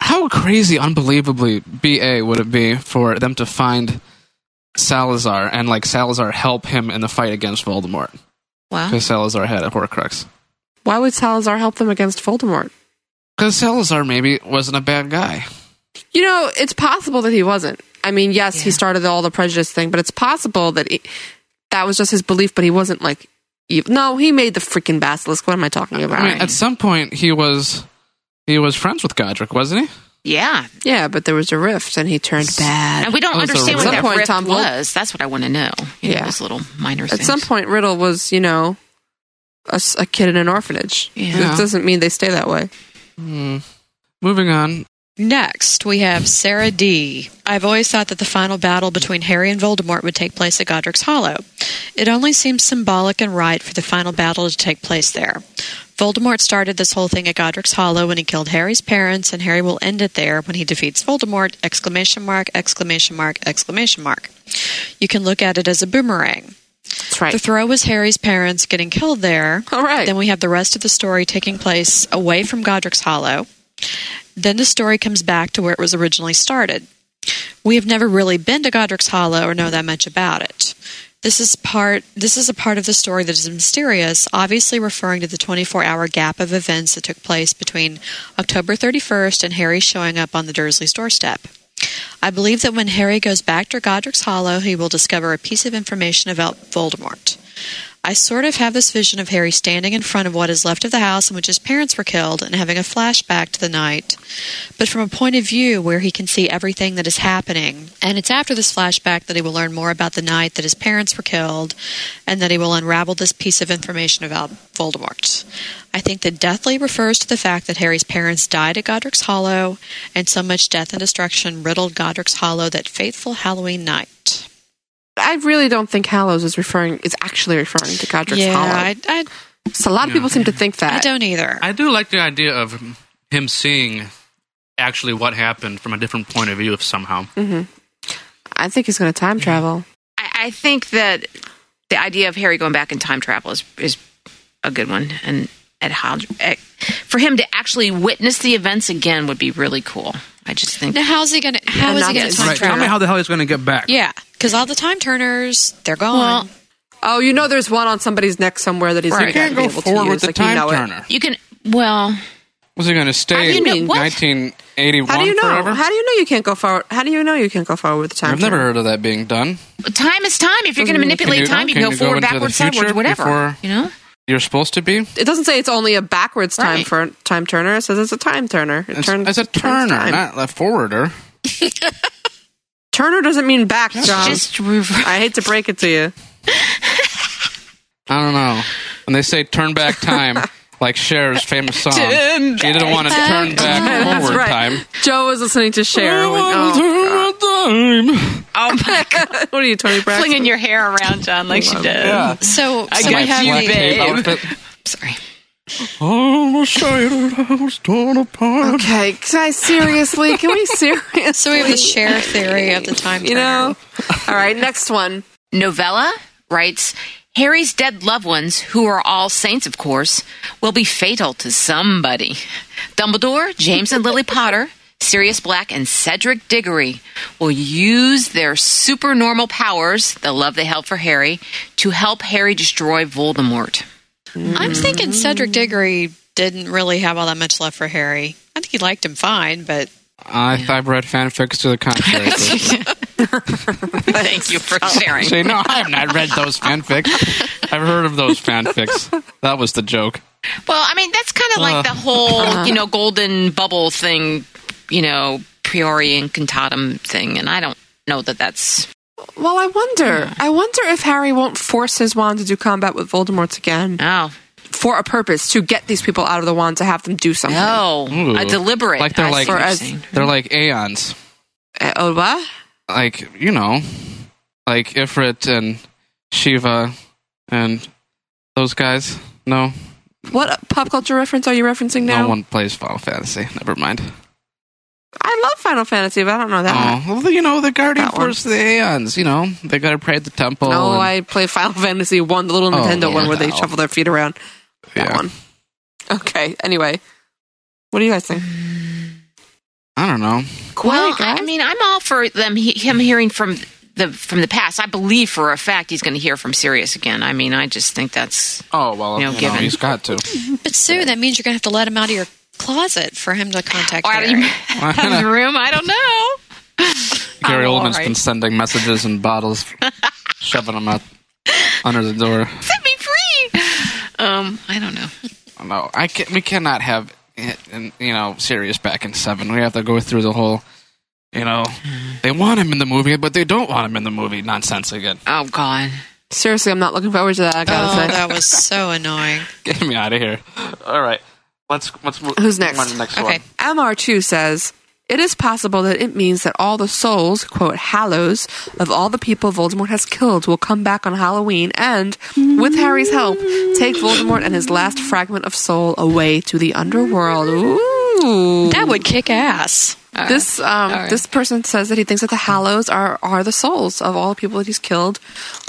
[SPEAKER 8] How crazy, unbelievably ba would it be for them to find Salazar and like Salazar help him in the fight against Voldemort?
[SPEAKER 4] Wow.
[SPEAKER 8] Because Salazar had a Horcrux.
[SPEAKER 7] Why would Salazar help them against Voldemort?
[SPEAKER 8] Because Salazar maybe wasn't a bad guy.
[SPEAKER 7] You know, it's possible that he wasn't. I mean, yes, he started all the prejudice thing, but it's possible that he, that was just his belief, but he wasn't like evil. No, he made the freaking basilisk. What am I talking about?
[SPEAKER 8] I mean, at some point he was he was friends with Godric, wasn't he?
[SPEAKER 4] Yeah,
[SPEAKER 7] yeah, but there was a rift, and he turned bad.
[SPEAKER 4] and we don't
[SPEAKER 8] Oh, it's a
[SPEAKER 4] understand what
[SPEAKER 8] riddle.
[SPEAKER 7] At
[SPEAKER 4] that
[SPEAKER 7] some point,
[SPEAKER 4] rift
[SPEAKER 7] Tom Hol-
[SPEAKER 4] was. That's what I want to know. You know,
[SPEAKER 7] Yeah.
[SPEAKER 4] those little minor
[SPEAKER 7] At
[SPEAKER 4] things.
[SPEAKER 7] some point, Riddle was, you know, a, s- a kid in an orphanage.
[SPEAKER 4] Yeah.
[SPEAKER 7] It doesn't mean they stay that way.
[SPEAKER 8] Hmm. Moving on.
[SPEAKER 3] Next, we have Sarah D. I've always thought that the final battle between Harry and Voldemort would take place at Godric's Hollow. It only seems symbolic and right for the final battle to take place there. Voldemort started this whole thing at Godric's Hollow when he killed Harry's parents, and Harry will end it there when he defeats Voldemort! Exclamation mark! Exclamation mark! Exclamation mark! You can look at it as a boomerang.
[SPEAKER 7] That's right.
[SPEAKER 3] The throw was Harry's parents getting killed there.
[SPEAKER 7] All right.
[SPEAKER 3] Then we have the rest of the story taking place away from Godric's Hollow. Then the story comes back to where it was originally started. We have never really been to Godric's Hollow or know that much about it. This is part this is a part of the story that is mysterious, obviously referring to the 24-hour gap of events that took place between October 31st and Harry showing up on the Dursleys' doorstep. I believe that when Harry goes back to Godric's Hollow, he will discover a piece of information about Voldemort. I sort of have this vision of Harry standing in front of what is left of the house in which his parents were killed and having a flashback to the night, but from a point of view where he can see everything that is happening. And it's after this flashback that he will learn more about the night that his parents were killed and that he will unravel this piece of information about Voldemort. I think that Deathly refers to the fact that Harry's parents died at Godric's Hollow, and so much death and destruction riddled Godric's Hollow that fateful Halloween night.
[SPEAKER 7] I really don't think Hallows is referring is actually referring to Godric's
[SPEAKER 3] yeah,
[SPEAKER 7] Hollow.
[SPEAKER 3] I, I,
[SPEAKER 7] so a lot of people seem to think
[SPEAKER 3] I
[SPEAKER 4] Uh,
[SPEAKER 7] that.
[SPEAKER 3] don't either.
[SPEAKER 8] I do like the idea of him seeing actually what happened from a different point of view, if somehow.
[SPEAKER 7] I think he's going to time travel.
[SPEAKER 4] I, I think that the idea of Harry going back in time travel is is a good one, and at how at, for him to actually witness the events again would be really cool. I just think
[SPEAKER 3] Now, how's he gonna? How
[SPEAKER 7] And
[SPEAKER 3] is he
[SPEAKER 7] not
[SPEAKER 3] gonna
[SPEAKER 7] that-
[SPEAKER 3] time
[SPEAKER 7] Right,
[SPEAKER 3] travel?
[SPEAKER 8] the hell he's going to get back.
[SPEAKER 3] yeah, because all the time turners, they're gone.
[SPEAKER 4] Well,
[SPEAKER 7] Oh, you know, there's one on somebody's neck somewhere that he's
[SPEAKER 8] You
[SPEAKER 7] right.
[SPEAKER 8] can't go forward with the time turner.
[SPEAKER 4] you can. Well,
[SPEAKER 8] Was he going to stay
[SPEAKER 4] you
[SPEAKER 8] in
[SPEAKER 4] know- what?
[SPEAKER 8] 1981
[SPEAKER 7] How do you know?
[SPEAKER 8] forever?
[SPEAKER 7] How do you know you can't go forward? How do you know you can't go forward with the time?
[SPEAKER 8] I've never
[SPEAKER 7] turner?
[SPEAKER 8] heard of that being done.
[SPEAKER 4] time is time. If you're going to manipulate
[SPEAKER 8] you-
[SPEAKER 4] time, you
[SPEAKER 8] can
[SPEAKER 4] can go
[SPEAKER 8] you go
[SPEAKER 4] forward,
[SPEAKER 8] into the
[SPEAKER 4] backwards,
[SPEAKER 8] future
[SPEAKER 4] sideways, whatever.
[SPEAKER 8] before-
[SPEAKER 4] You know,
[SPEAKER 8] You're supposed to be.
[SPEAKER 7] It doesn't say it's only a backwards time
[SPEAKER 4] Right.
[SPEAKER 7] for a time turner. It says it's a time turner. It
[SPEAKER 8] It's,
[SPEAKER 7] turns-
[SPEAKER 8] it's a
[SPEAKER 7] turns
[SPEAKER 8] turner,
[SPEAKER 7] time.
[SPEAKER 8] not a forwarder.
[SPEAKER 7] Turner doesn't mean back, John.
[SPEAKER 4] just reverse.
[SPEAKER 7] I hate to break it to you.
[SPEAKER 8] I don't know. When they say turn
[SPEAKER 7] [LAUGHS]
[SPEAKER 8] back time, like Cher's famous song,
[SPEAKER 7] Turn
[SPEAKER 8] she didn't want to turn back
[SPEAKER 7] [LAUGHS] That's
[SPEAKER 8] forward
[SPEAKER 7] right.
[SPEAKER 8] time.
[SPEAKER 7] Joe was listening to Cher. and went, oh,
[SPEAKER 8] Turn back time.
[SPEAKER 4] Oh my
[SPEAKER 7] [LAUGHS]
[SPEAKER 4] god,
[SPEAKER 7] what are you, Tony Braxton?
[SPEAKER 4] flinging your hair around, John, like she did.
[SPEAKER 8] Yeah.
[SPEAKER 3] So,
[SPEAKER 4] I
[SPEAKER 3] so
[SPEAKER 4] got
[SPEAKER 3] we have
[SPEAKER 4] you,
[SPEAKER 3] the,
[SPEAKER 4] babe.
[SPEAKER 3] Sorry.
[SPEAKER 7] Okay, guys, seriously, can we seriously?
[SPEAKER 3] So we have the share theory of the time
[SPEAKER 7] You know. All right, next one.
[SPEAKER 4] Novella writes Harry's dead loved ones, who are all saints, of course, will be fatal to somebody. Dumbledore, James and Lily Potter, Sirius Black, and Cedric Diggory will use their supernormal powers, the love they held for Harry, to help Harry destroy Voldemort.
[SPEAKER 3] I'm thinking Cedric Diggory didn't really have all that much left for Harry. I think he liked him fine, but
[SPEAKER 8] I th- I've read fanfics to
[SPEAKER 7] [LAUGHS]
[SPEAKER 8] the contrary.
[SPEAKER 4] [LAUGHS] Thank you for sharing.
[SPEAKER 8] Say, no, I have not read those fanfics. I've heard of those fanfics. That was the joke.
[SPEAKER 4] Well, I mean, that's kind of
[SPEAKER 8] Uh.
[SPEAKER 4] like the
[SPEAKER 8] Uh-huh.
[SPEAKER 4] whole, you know, golden bubble thing, you know, priori incantatum thing. And I don't know that that's
[SPEAKER 7] Well, I wonder. I wonder if Harry won't force his wand to do combat with Voldemort's again
[SPEAKER 4] Oh,
[SPEAKER 7] for a purpose to get these people out of the wand to have them do something.
[SPEAKER 4] no.
[SPEAKER 8] Ooh.
[SPEAKER 4] A deliberate.
[SPEAKER 8] Like they're
[SPEAKER 4] I see
[SPEAKER 8] like-
[SPEAKER 4] what you're
[SPEAKER 7] Or as-
[SPEAKER 4] saying.
[SPEAKER 8] They're like aeons.
[SPEAKER 7] Uh, oh, what?
[SPEAKER 8] Like, you know, like Ifrit and Shiva and those guys. No,
[SPEAKER 7] What pop culture reference are you referencing now?
[SPEAKER 8] no one plays Final Fantasy. Never mind.
[SPEAKER 7] I love Final Fantasy, but I don't know that.
[SPEAKER 8] Oh, well, you know, the Guardian Force of the Aeons, you know, they got to pray at the temple.
[SPEAKER 7] No,
[SPEAKER 8] and-
[SPEAKER 7] I play Final Fantasy one, the little
[SPEAKER 8] Oh,
[SPEAKER 7] Nintendo
[SPEAKER 8] yeah,
[SPEAKER 7] one where they
[SPEAKER 8] that
[SPEAKER 7] shuffle their feet around. That
[SPEAKER 8] Yeah.
[SPEAKER 7] one. Okay. Anyway, what do you guys think?
[SPEAKER 8] I don't know.
[SPEAKER 4] well, I mean, I'm all for them he, him hearing from the from the past. I believe for a fact he's going to hear from Sirius again. I mean, I just think that's
[SPEAKER 8] Oh, well,
[SPEAKER 4] You know,
[SPEAKER 8] you know,
[SPEAKER 4] given.
[SPEAKER 8] he's got to.
[SPEAKER 3] But Sue, that means you're going to have to let him out of your closet for him to contact
[SPEAKER 4] Or out of
[SPEAKER 3] Barry.
[SPEAKER 4] out of the room. I don't know.
[SPEAKER 8] Gary
[SPEAKER 4] Oh, all
[SPEAKER 8] Oldman's been
[SPEAKER 4] right.
[SPEAKER 8] sending messages and bottles, shoving
[SPEAKER 7] [LAUGHS]
[SPEAKER 8] them out under the door.
[SPEAKER 4] Set me free. Um, I don't know.
[SPEAKER 8] No, I can We cannot have it in- you know Sirius back in seven. We have to go through the whole. You know, they want him in the movie, but they don't want him in the movie. Nonsense again. [LAUGHS]
[SPEAKER 4] Oh God.
[SPEAKER 7] Seriously, I'm not looking forward to that. I
[SPEAKER 3] Oh,
[SPEAKER 7] gotta say.
[SPEAKER 3] that was so annoying.
[SPEAKER 8] Get me out of here. All right, let's let's move.
[SPEAKER 7] Who's next?
[SPEAKER 8] on to the next
[SPEAKER 3] Okay.
[SPEAKER 8] one.
[SPEAKER 7] MR2 says, It is possible that it means that all the souls, quote, hallows, of all the people Voldemort has killed will come back on Halloween and, with Harry's help, take Voldemort and his last fragment of soul away to the underworld. Ooh.
[SPEAKER 3] That would kick ass.
[SPEAKER 7] This um, this person says that he thinks that the Hallows are, are the souls of all the people that he's killed,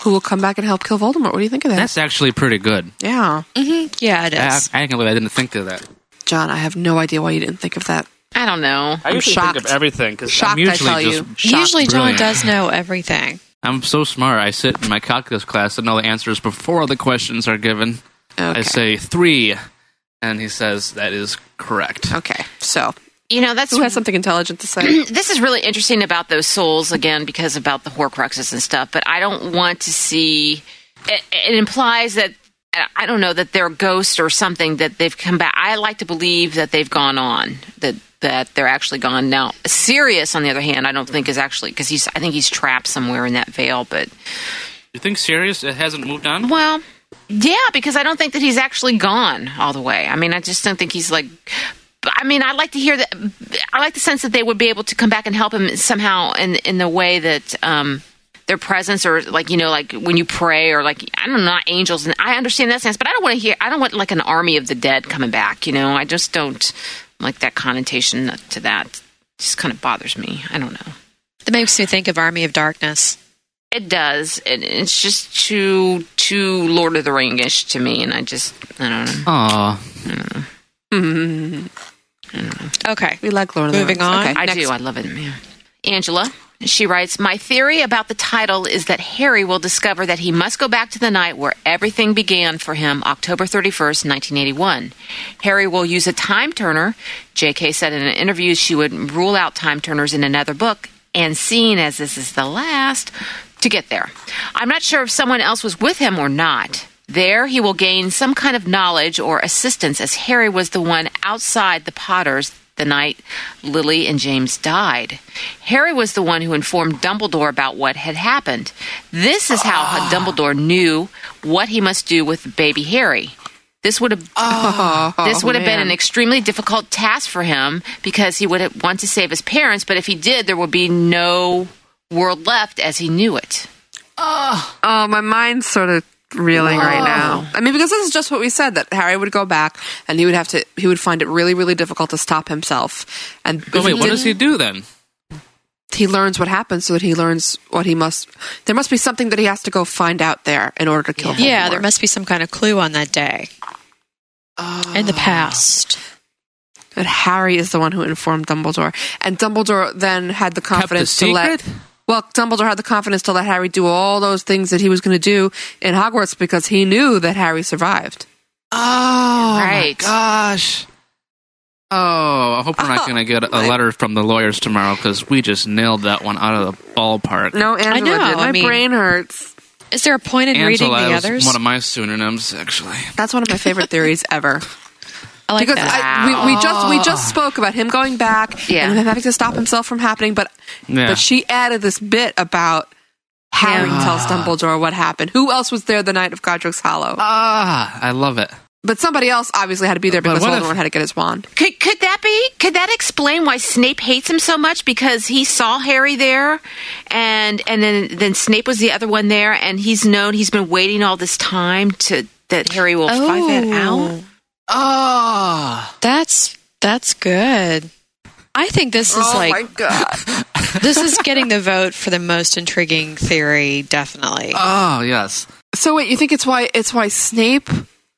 [SPEAKER 7] who will come back and help kill Voldemort. What do you think of that?
[SPEAKER 8] That's actually pretty good.
[SPEAKER 7] yeah,
[SPEAKER 4] Mm-hmm.
[SPEAKER 3] Yeah, it
[SPEAKER 8] I,
[SPEAKER 3] is.
[SPEAKER 8] I can't believe I didn't think of that.
[SPEAKER 7] John, I have no idea why you didn't think of that.
[SPEAKER 4] I don't know.
[SPEAKER 8] I usually
[SPEAKER 7] shocked.
[SPEAKER 8] think of everything because
[SPEAKER 7] Shocked,
[SPEAKER 8] I'm
[SPEAKER 7] I
[SPEAKER 8] usually
[SPEAKER 7] tell
[SPEAKER 8] just
[SPEAKER 7] you. Shocked.
[SPEAKER 3] Usually, John
[SPEAKER 8] Brilliant.
[SPEAKER 3] does know everything.
[SPEAKER 8] I'm so smart. I sit in my calculus class and know the answers before the questions are given. I
[SPEAKER 7] Okay.
[SPEAKER 8] say three, and he says that is correct.
[SPEAKER 7] Okay, so
[SPEAKER 4] You know, that's
[SPEAKER 7] who has something intelligent to say?
[SPEAKER 4] this is really interesting about those souls again because about the Horcruxes and stuff. But I don't want to see. It, it implies that I don't know that they're ghosts or something that they've come back. I like to believe that they've gone on that that they're actually gone now. Sirius, on the other hand, I don't think is actually because he's. I think he's trapped somewhere in that veil, but.
[SPEAKER 8] You think serious? It hasn't moved on.
[SPEAKER 4] Well, yeah, because I don't think that he's actually gone all the way. I mean, I just don't think he's like. I mean, I like to hear that. I like the sense that they would be able to come back and help him somehow in in the way that um, their presence or like you know like when you pray or like I don't know not angels and I understand that sense, but I don't want to hear. I don't want like an army of the dead coming back. You know, I just don't like that connotation to that. It just kind of bothers me. I don't know.
[SPEAKER 3] That makes me think of Army of Darkness.
[SPEAKER 4] It does, and it's just too too Lord of the Ringish to me, and I just I don't know.
[SPEAKER 8] Aw,
[SPEAKER 3] Okay.
[SPEAKER 7] [CLEARS THROAT] We like Lord of the
[SPEAKER 3] Moving
[SPEAKER 7] Rings.
[SPEAKER 3] on.
[SPEAKER 7] Okay,
[SPEAKER 4] I
[SPEAKER 7] next.
[SPEAKER 4] do. I love it. Yeah. Angela, she writes, My theory about the title is that Harry will discover that he must go back to the night where everything began for him, October 31st, 1981. Harry will use a time turner. JK said in an interview she would rule out time turners in another book, and seeing as this is the last, to get there. I'm not sure if someone else was with him or not. There, he will gain some kind of knowledge or assistance, as Harry was the one outside the Potters the night Lily and James died. Harry was the one who informed Dumbledore about what had happened. This is how
[SPEAKER 7] Ah.
[SPEAKER 4] Dumbledore knew what he must do with baby Harry. This would have
[SPEAKER 7] Oh, [LAUGHS]
[SPEAKER 4] this would have been an extremely difficult task for him because he would have want to save his parents, but if he did, there would be no world left as he knew it.
[SPEAKER 7] Oh, my mind's sort of reeling right now. I mean, because this is just what we said that Harry would go back and he would have to, he would find it really, really difficult to stop himself. And
[SPEAKER 8] oh, wait, what
[SPEAKER 7] didn't-
[SPEAKER 8] does he do then?
[SPEAKER 7] he learns what happens so that he learns what he must. There must be something that he has to go find out there in order to kill.
[SPEAKER 3] Yeah,
[SPEAKER 7] Voldemort.
[SPEAKER 3] there must be some kind of clue on that day. In the past.
[SPEAKER 7] But Harry is the one who informed Dumbledore, and Dumbledore then had the confidence to let.
[SPEAKER 8] secret?
[SPEAKER 7] Well, Dumbledore had the confidence to let Harry do all those things that he was going to do in Hogwarts because he knew that Harry survived.
[SPEAKER 8] Oh, my
[SPEAKER 4] Right.
[SPEAKER 8] gosh. Oh, I hope we're not going to get a letter from the lawyers tomorrow because we just nailed that one out of the ballpark.
[SPEAKER 7] No, Angela
[SPEAKER 3] know,
[SPEAKER 7] did. My
[SPEAKER 3] I mean-
[SPEAKER 7] brain hurts.
[SPEAKER 3] Is there a point in
[SPEAKER 8] Angela
[SPEAKER 3] reading the
[SPEAKER 8] is
[SPEAKER 3] others?
[SPEAKER 8] one of my pseudonyms, actually.
[SPEAKER 7] That's one of my favorite theories ever.
[SPEAKER 3] I like
[SPEAKER 7] because
[SPEAKER 3] that.
[SPEAKER 7] I, we, we just we just spoke about him going back
[SPEAKER 4] Yeah.
[SPEAKER 7] and him having to stop himself from happening, but
[SPEAKER 8] Yeah.
[SPEAKER 7] but she added this bit about Harry tells Dumbledore what happened. Who else was there the night of Godric's Hollow?
[SPEAKER 3] Uh,
[SPEAKER 8] Ah, I love it.
[SPEAKER 7] but somebody else obviously had to be there
[SPEAKER 8] But
[SPEAKER 7] because
[SPEAKER 8] what if-
[SPEAKER 7] Voldemort had to get his wand.
[SPEAKER 4] Could could that be? Could that explain why Snape hates him so much? Because he saw Harry there, and and then then Snape was the other one there, and he's known he's been waiting all this time to that Harry will
[SPEAKER 7] Oh.
[SPEAKER 4] find that out.
[SPEAKER 8] Ah.
[SPEAKER 3] That's that's good. I think this is
[SPEAKER 7] oh
[SPEAKER 3] like
[SPEAKER 7] my god!
[SPEAKER 8] [LAUGHS]
[SPEAKER 3] this is getting the vote for the most intriguing theory, definitely.
[SPEAKER 8] Oh yes.
[SPEAKER 7] So wait, you think it's why it's why Snape?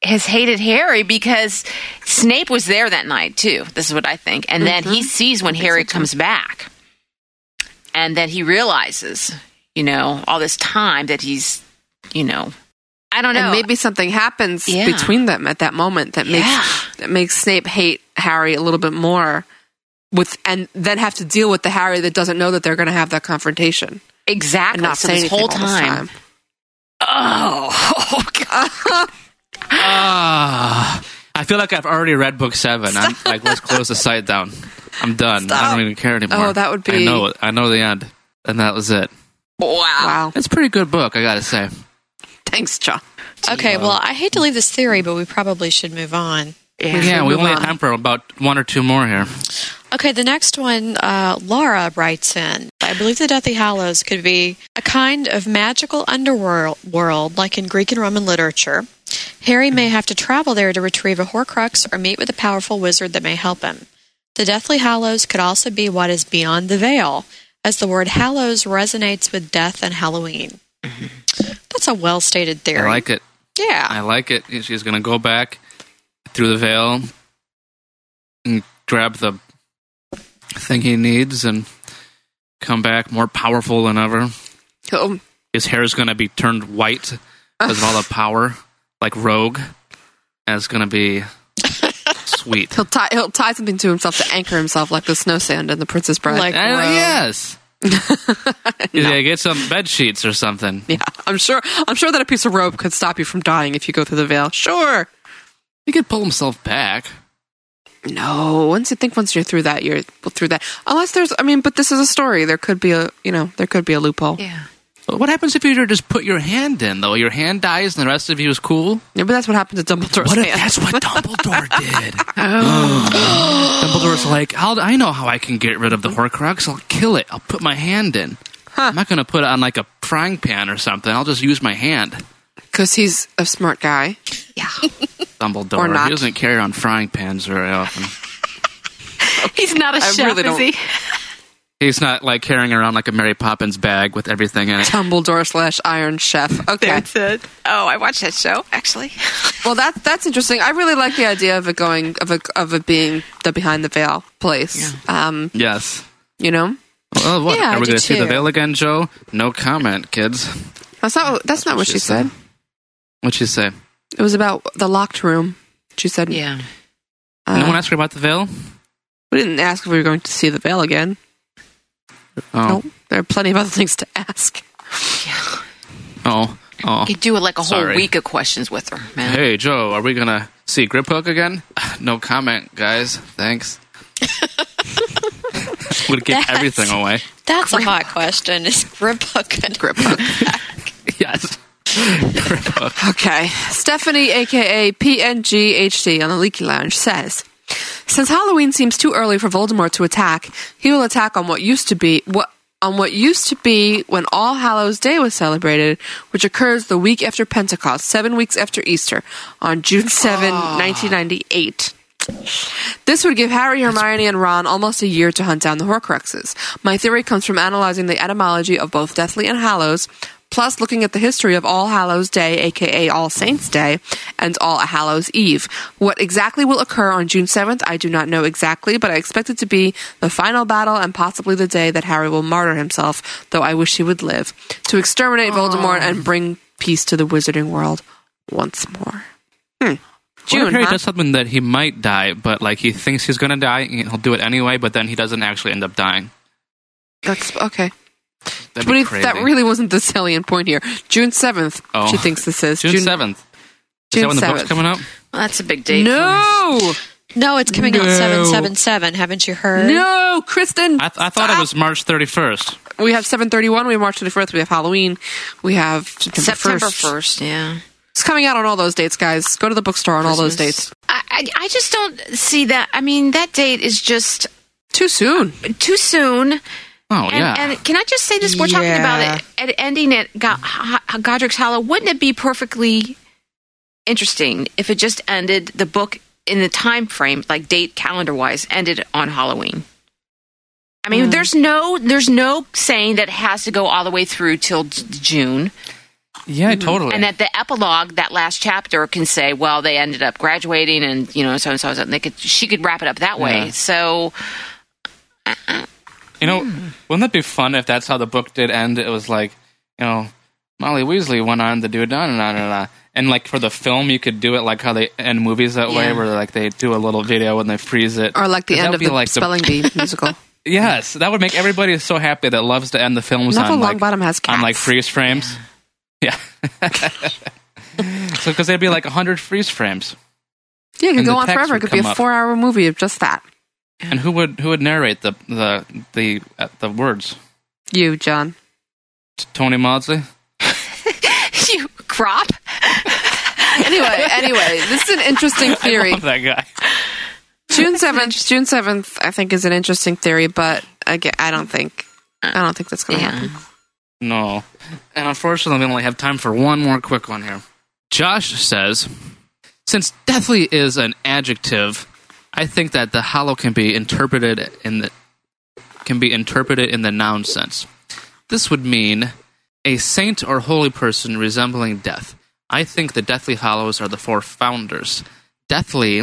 [SPEAKER 4] has hated Harry because Snape was there that night too. This is what I think. And then
[SPEAKER 7] Mm-hmm.
[SPEAKER 4] he sees when Harry comes back. And then he realizes, you know, all this time that he's, you know, I don't know.
[SPEAKER 7] And maybe something happens
[SPEAKER 4] Yeah.
[SPEAKER 7] between them at that moment that makes
[SPEAKER 4] Yeah.
[SPEAKER 7] that makes Snape hate Harry a little bit more. With and then have to deal with the Harry that doesn't know that they're going to have that confrontation.
[SPEAKER 4] exactly.
[SPEAKER 7] and not
[SPEAKER 4] so
[SPEAKER 7] say
[SPEAKER 4] this
[SPEAKER 7] anything
[SPEAKER 4] whole
[SPEAKER 7] all this
[SPEAKER 4] time. Oh, [LAUGHS] oh God.
[SPEAKER 8] Ah. I feel like I've already read book seven. I'm like, let's close the site down. I'm done. I don't even care anymore.
[SPEAKER 7] Oh, that would be-
[SPEAKER 8] I know. it. I know the end, and that was it.
[SPEAKER 3] Ah.
[SPEAKER 7] Wow. [LAUGHS]
[SPEAKER 8] It's a pretty good book, I gotta say.
[SPEAKER 7] Thanks, Cha.
[SPEAKER 3] Okay, well, I hate to leave this theory, but we probably should move on.
[SPEAKER 8] Yeah, we only have time for about one or two more here.
[SPEAKER 3] Okay, the next one, uh, Laura writes in. I believe the Deathly Hallows could be a kind of magical underworld, world, like in Greek and Roman literature. Harry may have to travel there to retrieve a Horcrux or meet with a powerful wizard that may help him. The Deathly Hallows could also be what is beyond the veil, as the word Hallows resonates with death and Halloween. That's a well-stated theory.
[SPEAKER 8] Mm-hmm. I like it.
[SPEAKER 3] yeah.
[SPEAKER 8] I like it. She's gonna go back through the veil and grab the thing he needs and come back more powerful than ever.
[SPEAKER 7] Oh,
[SPEAKER 8] His hair is gonna be turned white because of all the power, like Rogue. And it's gonna be sweet.
[SPEAKER 7] he'll tie he'll tie something to himself to anchor himself like the snow sand in the Princess Bride. Oh,
[SPEAKER 3] Like-
[SPEAKER 8] I-
[SPEAKER 3] Rogue.
[SPEAKER 8] Uh, yes. Yeah, get some bed sheets or something.
[SPEAKER 7] yeah, I'm sure I'm sure that a piece of rope could stop you from dying if you go through the veil. Sure.
[SPEAKER 8] He could pull himself back.
[SPEAKER 7] No, once you think once you're through that, you're through that. Unless there's, I mean, but this is a story. There could be a, you know, there could be a loophole. Yeah,
[SPEAKER 4] Yeah.
[SPEAKER 8] But What happens if you were to just put your hand in though? Your hand dies and the rest of you is cool.
[SPEAKER 7] but that's what happened to Dumbledore's
[SPEAKER 8] What if
[SPEAKER 7] hand.
[SPEAKER 8] that's what Dumbledore
[SPEAKER 7] [LAUGHS]
[SPEAKER 8] did? [GASPS] Dumbledore's like, I'll, I know how I can get rid of the Horcrux. I'll kill it. I'll put my hand in. I'm not going to put it on like a frying pan or something. I'll just use my hand.
[SPEAKER 7] Because he's a smart guy.
[SPEAKER 8] Dumbledore.
[SPEAKER 7] Or not.
[SPEAKER 8] He doesn't carry on frying pans very often.
[SPEAKER 4] He's not a
[SPEAKER 7] I
[SPEAKER 4] chef,
[SPEAKER 7] really
[SPEAKER 4] is
[SPEAKER 7] don't- [LAUGHS]
[SPEAKER 4] he?
[SPEAKER 8] He's not like carrying around like a Mary Poppins bag with
[SPEAKER 7] [LAUGHS]
[SPEAKER 8] everything in it.
[SPEAKER 7] Dumbledore slash Iron Chef. Okay,
[SPEAKER 4] it. Oh, I watched that show actually.
[SPEAKER 7] well that that's interesting. I really like the idea of it going of it of it being the behind the veil place. Um,
[SPEAKER 8] Yes.
[SPEAKER 7] you know,
[SPEAKER 8] Well, what?
[SPEAKER 3] Yeah, I
[SPEAKER 8] Are we
[SPEAKER 3] do
[SPEAKER 8] going to see
[SPEAKER 3] too.
[SPEAKER 8] the veil again, Joe? No comment, kids.
[SPEAKER 7] that's not that's not what she said.
[SPEAKER 8] What'd she say?
[SPEAKER 7] It was about the locked room. She said,
[SPEAKER 4] Yeah.
[SPEAKER 7] uh,
[SPEAKER 8] no one asked her about the veil?
[SPEAKER 7] We didn't ask if we were going to see the veil again.
[SPEAKER 8] Oh.
[SPEAKER 7] Nope. There are plenty of other things to ask.
[SPEAKER 8] Oh. Oh.
[SPEAKER 4] You could do like a whole
[SPEAKER 8] Sorry.
[SPEAKER 4] week of questions with her, man.
[SPEAKER 8] Hey, Joe, are we gonna see Grip Hook again? [SIGHS] No comment, guys. Thanks. Would give
[SPEAKER 3] That's-
[SPEAKER 8] everything away.
[SPEAKER 3] That's a hot question. Is grip hook and grip
[SPEAKER 8] Yes. Grip Hook.
[SPEAKER 7] Okay. Stephanie, aka PNGHD on the Leaky Lounge, says Since Halloween seems too early for Voldemort to attack, he will attack on what used to be what on what used to be when All Hallows Day was celebrated, which occurs the week after Pentecost, seven weeks after Easter, on June 7, 1998. This would give Harry, Hermione, and Ron almost a year to hunt down the Horcruxes. My theory comes from analyzing the etymology of both Deathly and Hallows, plus looking at the history of All Hallows Day, aka All Saints Day, and All Hallows Eve. What exactly will occur on June 7th, I do not know exactly, but I expect it to be the final battle and possibly the day that Harry will martyr himself, though I wish he would live, to exterminate Voldemort and bring peace to the wizarding world once more. Hmm.
[SPEAKER 8] June,
[SPEAKER 7] June,
[SPEAKER 8] Harry
[SPEAKER 7] huh?
[SPEAKER 8] does something that he might die, but like he thinks he's gonna die, and he'll do it anyway. But then he doesn't actually end up dying.
[SPEAKER 7] That's okay.
[SPEAKER 8] That'd
[SPEAKER 7] But
[SPEAKER 8] be
[SPEAKER 7] it-
[SPEAKER 8] crazy.
[SPEAKER 7] that really wasn't the salient point here. June seventh,
[SPEAKER 8] Oh.
[SPEAKER 7] she thinks this is
[SPEAKER 8] June seventh. Is
[SPEAKER 7] June
[SPEAKER 8] that when the book's
[SPEAKER 7] 7th.
[SPEAKER 8] coming out?
[SPEAKER 4] Well, that's a big date.
[SPEAKER 7] No,
[SPEAKER 3] No, it's coming out
[SPEAKER 8] No.
[SPEAKER 3] 777. Haven't you heard?
[SPEAKER 7] no, Kristen.
[SPEAKER 8] I, th- I thought it was March thirty first.
[SPEAKER 7] We have seven thirty one. We have March twenty first. We have Halloween. We have September
[SPEAKER 4] September
[SPEAKER 7] first.
[SPEAKER 4] first. Yeah.
[SPEAKER 7] It's coming out on all those dates, guys. Go to the bookstore on all those
[SPEAKER 4] Christmas.
[SPEAKER 7] dates.
[SPEAKER 4] I, I I just don't see that. I mean, that date is just
[SPEAKER 7] Too soon.
[SPEAKER 4] too soon.
[SPEAKER 8] Oh
[SPEAKER 4] and,
[SPEAKER 8] yeah.
[SPEAKER 4] and can I just say this? We're talking
[SPEAKER 3] Yeah.
[SPEAKER 4] about it and ending at Go- Ho- Ho- Godric's Hollow. Wouldn't it be perfectly interesting if it just ended the book in the time frame, like date calendar wise, ended on Halloween? I mean, there's no there's no saying that it has to go all the way through till j- June.
[SPEAKER 8] Yeah, totally.
[SPEAKER 4] And that the epilogue, that last chapter, can say, well, they ended up graduating, and you know, so and so and so. and They could she could wrap it up that way.
[SPEAKER 8] Yeah.
[SPEAKER 4] So [LAUGHS]
[SPEAKER 8] You know,
[SPEAKER 7] Hmm.
[SPEAKER 8] wouldn't that be fun if that's how the book did end? It was like, you know, Molly Weasley went on to do da da da da da. And like for the film, you could do it like how they end movies that way,
[SPEAKER 7] Yeah.
[SPEAKER 8] where like they do a little video and they freeze it,
[SPEAKER 7] Or like the
[SPEAKER 8] That
[SPEAKER 7] end
[SPEAKER 8] would
[SPEAKER 7] of
[SPEAKER 8] be
[SPEAKER 7] the
[SPEAKER 8] like
[SPEAKER 7] Spelling
[SPEAKER 8] [LAUGHS]
[SPEAKER 7] Bee musical.
[SPEAKER 8] Yes, that would make everybody so happy that loves to end the films
[SPEAKER 7] Neville
[SPEAKER 8] on like,
[SPEAKER 7] Longbottom has
[SPEAKER 8] on like freeze frames. Yeah. [LAUGHS] so because there'd be like hundred freeze frames,
[SPEAKER 7] Yeah, it could
[SPEAKER 8] And the
[SPEAKER 7] go on
[SPEAKER 8] text
[SPEAKER 7] forever. It
[SPEAKER 8] would
[SPEAKER 7] could be a
[SPEAKER 8] come up.
[SPEAKER 7] four-hour movie of just that.
[SPEAKER 8] and who would who would narrate the the the uh, the words?
[SPEAKER 7] You,
[SPEAKER 4] [LAUGHS]
[SPEAKER 7] John.
[SPEAKER 8] T- Tony Maudsley.
[SPEAKER 4] you crop.
[SPEAKER 7] Anyway, anyway, this is an interesting theory.
[SPEAKER 8] I love that guy.
[SPEAKER 7] June seventh. June seventh, I think, is an interesting theory, but again, I don't think, I don't think that's going to happen.
[SPEAKER 8] No. And unfortunately, we only have time for one more quick one here.
[SPEAKER 13] Josh says, since deathly is an adjective, I think that the hollow can be interpreted in the can be interpreted in the noun sense. This would mean a saint or holy person resembling death. I think the deathly hollows are the four founders. Deathly,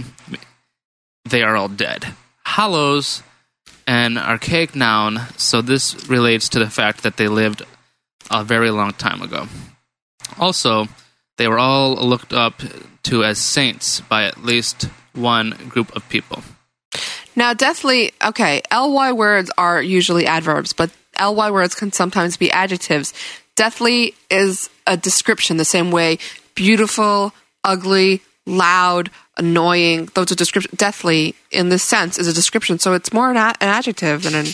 [SPEAKER 13] they are all dead. Hollows, an archaic noun, so this relates to the fact that they lived a very long time ago. Also, they were all looked up to as saints by at least one group of people.
[SPEAKER 7] Now, deathly. Okay, ly words are usually adverbs, but ly words can sometimes be adjectives. Deathly is a description, the same way beautiful, ugly, loud, annoying. Those are descriptions. Deathly, in this sense, is a description, so it's more an, a- an adjective than an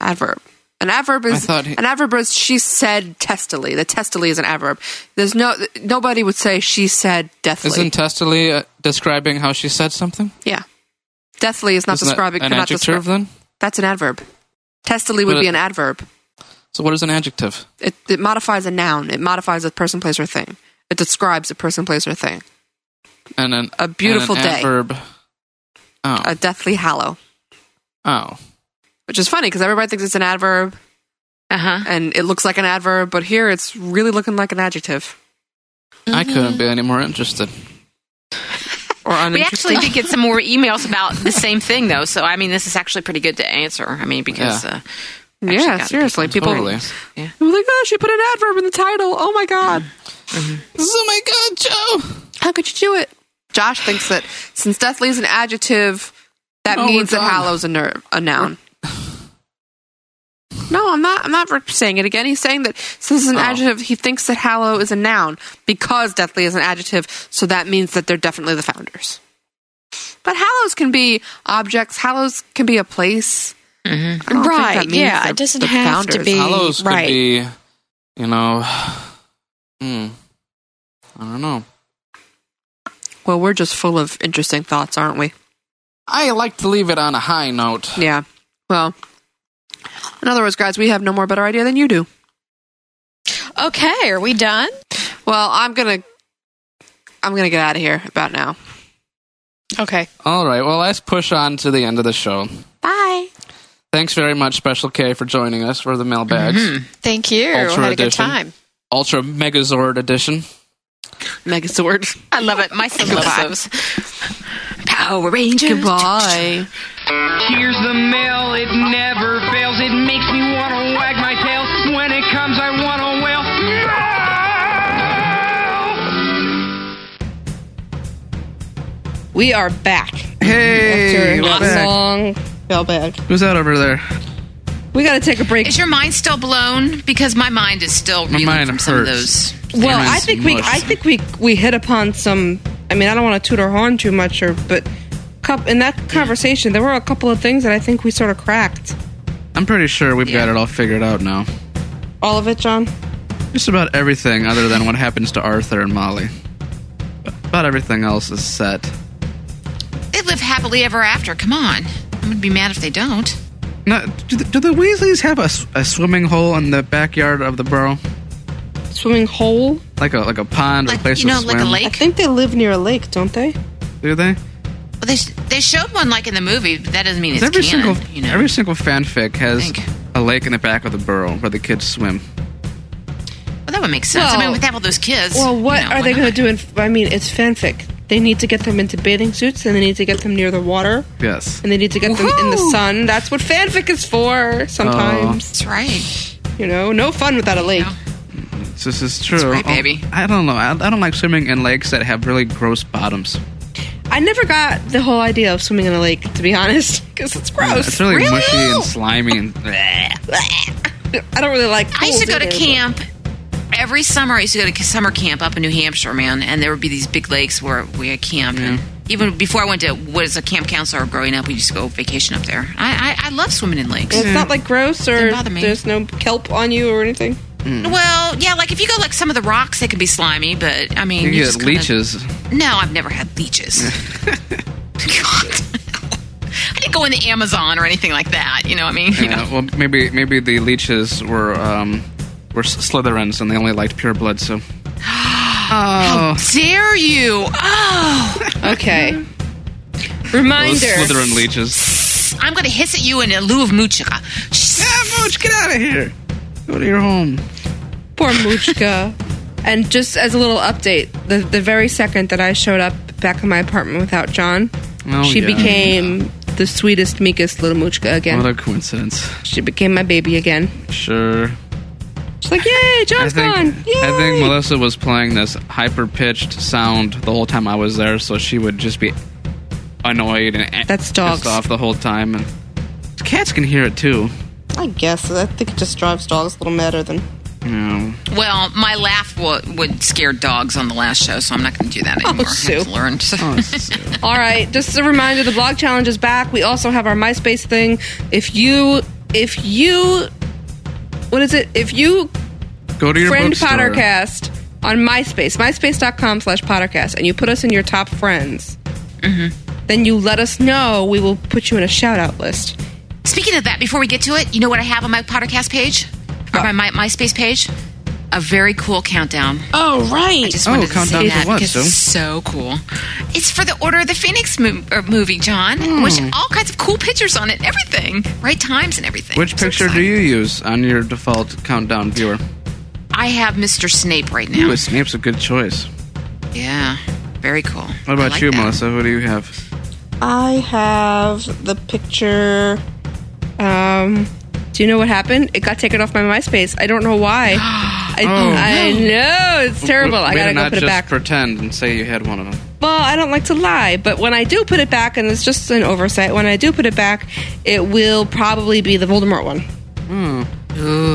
[SPEAKER 7] adverb. An adverb is
[SPEAKER 8] Hmm. thought he-
[SPEAKER 7] an adverb is she said testily. The testily is an adverb. There's no nobody would say she said deathly.
[SPEAKER 8] Isn't Testily uh, describing how she said something?
[SPEAKER 7] yeah, deathly is not
[SPEAKER 8] Isn't that
[SPEAKER 7] describing.
[SPEAKER 8] an
[SPEAKER 7] cannot
[SPEAKER 8] adjective
[SPEAKER 7] describe-
[SPEAKER 8] then?
[SPEAKER 7] That's an adverb. Testily would
[SPEAKER 8] But-
[SPEAKER 7] be an adverb.
[SPEAKER 8] So what is an adjective?
[SPEAKER 7] It, it modifies a noun. It modifies a person, place, or thing. It describes a person, place, or thing.
[SPEAKER 8] And an
[SPEAKER 7] A beautiful
[SPEAKER 8] and an
[SPEAKER 7] day.
[SPEAKER 8] adverb. Oh,
[SPEAKER 7] A deathly hallow,
[SPEAKER 8] oh,
[SPEAKER 7] which is funny because everybody thinks it's an adverb
[SPEAKER 4] uh huh.
[SPEAKER 7] and it looks like an adverb, but here it's really looking like an adjective
[SPEAKER 8] I couldn't be any more interested.
[SPEAKER 7] Mm-hmm. or
[SPEAKER 4] We
[SPEAKER 7] uninteresting.
[SPEAKER 4] actually did get some more emails about the same thing, though. So I mean, this is actually pretty good to answer. I mean, because
[SPEAKER 8] Yeah.
[SPEAKER 4] uh, actually
[SPEAKER 7] yeah,
[SPEAKER 4] got
[SPEAKER 7] seriously, people.
[SPEAKER 8] Totally.
[SPEAKER 7] It was like, oh, she put an adverb in the title. Oh my god,
[SPEAKER 8] Oh my god, Joe!
[SPEAKER 7] how could you do it? Josh thinks that since deathly is an adjective, that
[SPEAKER 3] Oh,
[SPEAKER 8] No,
[SPEAKER 7] means
[SPEAKER 8] we're
[SPEAKER 7] that
[SPEAKER 8] done.
[SPEAKER 7] hallow's a, ner- a noun. No, I'm not. I'm not re- saying it again. He's saying that since
[SPEAKER 3] Oh.
[SPEAKER 7] it's an adjective, he thinks that hallow is a noun because deathly is an adjective. So that means that they're definitely the founders. But hallows can be objects. Hallows can be a place. I don't think that
[SPEAKER 3] Mm-hmm. Right,
[SPEAKER 7] means
[SPEAKER 3] yeah,
[SPEAKER 7] they're
[SPEAKER 3] it doesn't
[SPEAKER 7] the
[SPEAKER 3] have to
[SPEAKER 7] founders.
[SPEAKER 3] be-
[SPEAKER 8] Hollows could
[SPEAKER 3] right.
[SPEAKER 8] be, you know, [SIGHS] hmm, I don't know.
[SPEAKER 7] Well, we're just full of interesting thoughts, aren't we?
[SPEAKER 8] I like to leave it on a high note.
[SPEAKER 7] Yeah. Well, in other words, guys, we have no more better idea than you do.
[SPEAKER 3] Okay, are we done?
[SPEAKER 7] Well, I'm gonna, I'm gonna get out of here about now.
[SPEAKER 3] [LAUGHS] Okay.
[SPEAKER 8] All right, well, let's push on to the end of the show.
[SPEAKER 7] Bye.
[SPEAKER 8] Thanks very much, Special K, for joining us for the mailbags.
[SPEAKER 3] Thank you.
[SPEAKER 8] Ultra
[SPEAKER 3] had a good
[SPEAKER 8] edition.
[SPEAKER 3] time.
[SPEAKER 8] Ultra Megazord edition.
[SPEAKER 7] Megazord.
[SPEAKER 4] I love it. My son loves those. Power
[SPEAKER 7] [LAUGHS]
[SPEAKER 4] Rangers.
[SPEAKER 7] Goodbye.
[SPEAKER 14] Here's the mail, it never fails. It makes me want to wag my tail. When it comes, I want to wail. Mail!
[SPEAKER 7] We are back.
[SPEAKER 8] Hey,
[SPEAKER 7] Not long. Fell back.
[SPEAKER 8] who's that over there?
[SPEAKER 7] We gotta take a break.
[SPEAKER 12] Is your mind still blown? Because my mind is still reeling
[SPEAKER 8] mind
[SPEAKER 12] from some of
[SPEAKER 8] hurts.
[SPEAKER 12] those.
[SPEAKER 7] Well, I
[SPEAKER 8] Aaron's
[SPEAKER 7] think we,
[SPEAKER 8] mush.
[SPEAKER 7] I think we, we hit upon some. I mean, I don't want to toot our horn too much, or but, coup- in that conversation, there were a couple of things that I think we sort of cracked.
[SPEAKER 8] I'm pretty sure we've got it all figured out now.
[SPEAKER 7] All of it, John.
[SPEAKER 8] Just about everything other than what happens to Arthur and Molly. About everything else is set.
[SPEAKER 12] They live happily ever after. Come on. I'm going to be mad if they don't.
[SPEAKER 8] Now, do, the, do the Weasleys have a, s- a swimming hole in the backyard of the borough?
[SPEAKER 7] Swimming hole.
[SPEAKER 8] Like a like a pond or a
[SPEAKER 12] Like,
[SPEAKER 8] place
[SPEAKER 12] you know,
[SPEAKER 8] to
[SPEAKER 12] like
[SPEAKER 8] swim?
[SPEAKER 12] a
[SPEAKER 7] I
[SPEAKER 12] lake.
[SPEAKER 7] think they live near a lake, don't they?
[SPEAKER 8] Do they?
[SPEAKER 12] Well, they, sh-
[SPEAKER 4] They showed one like in the movie, but that doesn't mean it's
[SPEAKER 8] every
[SPEAKER 4] canon.
[SPEAKER 8] single every single fanfic has a lake in the back of the burrow where the kids swim.
[SPEAKER 4] Well, that would make sense. I
[SPEAKER 7] Well-
[SPEAKER 4] mean, with all those kids.
[SPEAKER 7] Well, what
[SPEAKER 4] you know,
[SPEAKER 7] are
[SPEAKER 4] why
[SPEAKER 7] they
[SPEAKER 4] not?
[SPEAKER 7] going to do? In, I mean, it's fanfic. They need to get them into bathing suits, and they need to get them near the water,
[SPEAKER 8] Yes.
[SPEAKER 7] and they need to get them in the sun. That's what fanfic is for. Sometimes
[SPEAKER 4] That's right.
[SPEAKER 7] You know, no fun without a lake.
[SPEAKER 8] So this is true.
[SPEAKER 7] right,
[SPEAKER 8] Oh,
[SPEAKER 7] baby.
[SPEAKER 8] I don't know. I, I don't like swimming in lakes that have really gross bottoms.
[SPEAKER 7] I never got the whole idea of swimming in a lake, to be honest, because it's
[SPEAKER 4] Oh,
[SPEAKER 7] gross.
[SPEAKER 8] Yeah, it's really, mushy and slimy and.
[SPEAKER 7] [LAUGHS] I don't really like.
[SPEAKER 4] I used to
[SPEAKER 7] pools
[SPEAKER 4] go
[SPEAKER 7] either,
[SPEAKER 4] to
[SPEAKER 7] but-
[SPEAKER 4] camp every summer. I used to go to summer camp up in New Hampshire, man, and there would be these big lakes where we had camp.
[SPEAKER 7] Mm.
[SPEAKER 4] And even before I went to what is a camp counselor growing up, we used to go vacation up there. I I, I love swimming in lakes.
[SPEAKER 7] And It's not like gross or
[SPEAKER 4] Doesn't bother me.
[SPEAKER 7] there's no kelp on you or anything. Mm.
[SPEAKER 4] Well, yeah, like if you go like some of the rocks, they can be slimy, but I mean,
[SPEAKER 8] You
[SPEAKER 4] you
[SPEAKER 8] get
[SPEAKER 4] just kinda-
[SPEAKER 8] leeches.
[SPEAKER 4] No, I've never had leeches. God, I didn't go in the Amazon or anything like that. You know what I mean? You know.
[SPEAKER 8] Yeah, well, maybe maybe the leeches were um, were S- Slytherins and they only liked pure blood. So
[SPEAKER 4] How dare you? Oh,
[SPEAKER 7] Okay.
[SPEAKER 8] Those
[SPEAKER 7] Reminder.
[SPEAKER 8] Slytherin leeches.
[SPEAKER 4] I'm going to hiss at you in lieu of Muchika.
[SPEAKER 8] Yeah, Mooch, get out of here. Go to your home.
[SPEAKER 7] Poor Moochka. and just as a little update, the, the very second that I showed up back in my apartment without John,
[SPEAKER 8] Oh,
[SPEAKER 7] she
[SPEAKER 8] yeah.
[SPEAKER 7] became the sweetest, meekest little Moochka again.
[SPEAKER 8] What a coincidence.
[SPEAKER 7] she became my baby again.
[SPEAKER 8] Sure.
[SPEAKER 7] She's like, yay,
[SPEAKER 8] I
[SPEAKER 7] John's
[SPEAKER 8] think,
[SPEAKER 7] gone. Yay.
[SPEAKER 8] I think Melissa was playing this hyper pitched sound the whole time I was there, so she would just be annoyed and a-
[SPEAKER 7] That's dogs.
[SPEAKER 8] pissed off the whole time. And cats can hear it too.
[SPEAKER 7] I guess. I think it just drives dogs a little madder than.
[SPEAKER 8] You know.
[SPEAKER 4] Well, my laugh w- would scare dogs on the last show, so I'm not going to do that anymore. I have to learn.
[SPEAKER 7] Oh,
[SPEAKER 8] Oh, [LAUGHS]
[SPEAKER 7] All right, just a reminder: the blog challenge is back. We also have our MySpace thing. If you, if you, what is it? If you
[SPEAKER 8] Go to your
[SPEAKER 7] friend
[SPEAKER 8] bookstore.
[SPEAKER 7] Pottercast on MySpace, MySpace.com slash Pottercast, and you put us in your top friends, then you let us know. We will put you in a shout out list.
[SPEAKER 4] Speaking of that, before we get to it, you know what I have on my podcast page? Or my, my MySpace page? A very cool countdown.
[SPEAKER 7] Oh right!
[SPEAKER 4] I just
[SPEAKER 8] Oh,
[SPEAKER 4] wanted to
[SPEAKER 8] countdown
[SPEAKER 4] say
[SPEAKER 8] to
[SPEAKER 4] that
[SPEAKER 8] what,
[SPEAKER 4] because it's so cool. It's for the Order of the Phoenix mo- or movie, John,
[SPEAKER 8] Hmm.
[SPEAKER 4] which all kinds of cool pictures on it, and everything, right times and everything.
[SPEAKER 8] Which picture do you use on your default countdown viewer?
[SPEAKER 4] I have Mr. Snape right now.
[SPEAKER 8] Ooh, Snape's a good choice.
[SPEAKER 4] yeah, very cool.
[SPEAKER 8] What about you, Melissa? Who do you have?
[SPEAKER 7] I have the picture. Um, do you know what happened? It got taken off my MySpace. I don't know
[SPEAKER 8] [GASPS]
[SPEAKER 7] why. I,
[SPEAKER 8] Oh.
[SPEAKER 7] I know it's terrible.
[SPEAKER 8] Way
[SPEAKER 7] I
[SPEAKER 8] to
[SPEAKER 7] gotta go
[SPEAKER 8] not
[SPEAKER 7] put it
[SPEAKER 8] just
[SPEAKER 7] back.
[SPEAKER 8] pretend and say you had one of them.
[SPEAKER 7] Well, I don't like to lie, but when I do put it back, and it's just an oversight, when I do put it back, it will probably be the Voldemort one.
[SPEAKER 4] Ooh,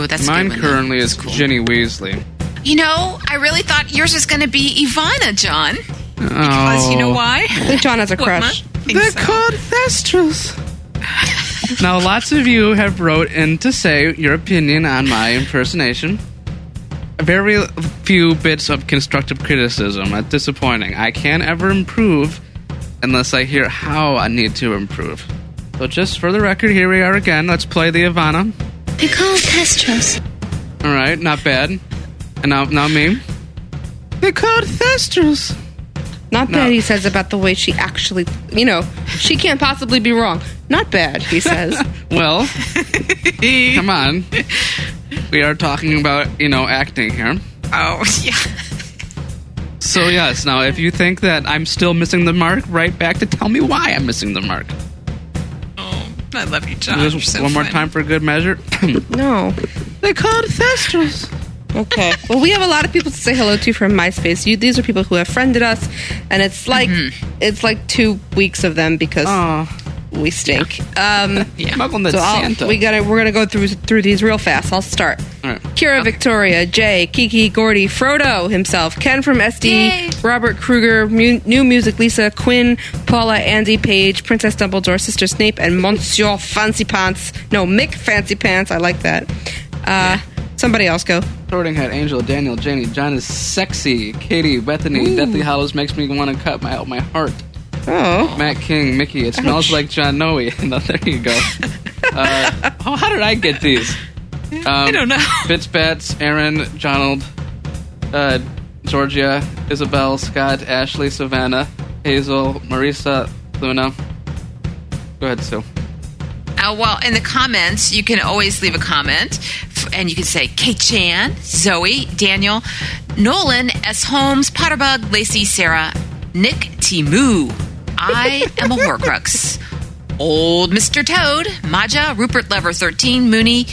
[SPEAKER 4] that's a
[SPEAKER 8] Mine
[SPEAKER 4] good one, though.
[SPEAKER 8] currently is Ginny Weasley.
[SPEAKER 4] You know, I really thought yours was going to be Ivana, John.
[SPEAKER 8] Because
[SPEAKER 4] You know
[SPEAKER 8] [LAUGHS]
[SPEAKER 4] why?
[SPEAKER 7] I think John has a
[SPEAKER 4] What
[SPEAKER 7] crush.
[SPEAKER 4] month? Think so.
[SPEAKER 8] called Thestrals. now, lots of you have wrote in to say your opinion on my impersonation. Very few bits of constructive criticism. That's disappointing. I can't ever improve unless I hear how I need to improve. So, just for the record, here we are again. Let's play the Ivana.
[SPEAKER 15] You're called Testros.
[SPEAKER 8] All right, not bad. And now, now me. They called Thestrals.
[SPEAKER 7] Not
[SPEAKER 8] No.
[SPEAKER 7] bad, he says about the way she actually, you know, she can't possibly be wrong. Not bad, he says.
[SPEAKER 8] Well, come on. We are talking about, you know, acting here.
[SPEAKER 4] [LAUGHS] Oh, yeah.
[SPEAKER 8] So, yes, now if you think that I'm still missing the mark, write back to tell me why I'm missing the mark.
[SPEAKER 4] Oh, I love you, John. You're
[SPEAKER 8] Just
[SPEAKER 4] so
[SPEAKER 8] one more
[SPEAKER 4] funny.
[SPEAKER 8] time for good
[SPEAKER 4] [LAUGHS]
[SPEAKER 8] measure.
[SPEAKER 7] no.
[SPEAKER 8] they called Thestrals.
[SPEAKER 7] Okay. Well, we have a lot of people to say hello to from MySpace. You, these are people who have friended us, and it's like
[SPEAKER 8] Mm-hmm.
[SPEAKER 7] it's like two weeks of them because
[SPEAKER 8] Oh,
[SPEAKER 7] we stink.
[SPEAKER 8] [LAUGHS]
[SPEAKER 7] Um,
[SPEAKER 8] Mugglenut
[SPEAKER 7] So I'll-
[SPEAKER 8] Santa.
[SPEAKER 7] we gotta we're gonna go through through these real fast. I'll start.
[SPEAKER 8] All right.
[SPEAKER 7] Kira, Victoria, Jay, Kiki, Gordy, Frodo himself, Ken from SD, Robert Kruger, mu- New Music, Lisa, Quinn, Paula, Andy, Paige, Princess Dumbledore, Sister Snape, and Monsieur Fancy Pants. No, Mick Fancy Pants. I like that. Uh, somebody else go.
[SPEAKER 8] Sorting Hat, Angel, Daniel, Janie, John is sexy, Katie, Bethany, Deathly Hollows makes me want to cut my out my heart.
[SPEAKER 7] Oh,
[SPEAKER 8] Matt King, Mickey, it smells like John Noe. [LAUGHS] Now, there you go. Uh, oh, how did I get these? Um, I
[SPEAKER 4] don't know.
[SPEAKER 8] Fitzbats, Aaron, Donald, uh, Georgia, Isabel, Scott, Ashley, Savannah, Hazel, Marisa, Luna,
[SPEAKER 16] Go ahead, Sue.
[SPEAKER 4] Uh, well, in the comments, you can always leave a comment, f- and you can say Kate Chan, Zoe, Daniel, Nolan, S. Holmes, Potterbug, Lacey, Sarah, Nick, Timu. I am a Horcrux. Old Mr. Toad, Maja, Rupert Lover 13, Mooney.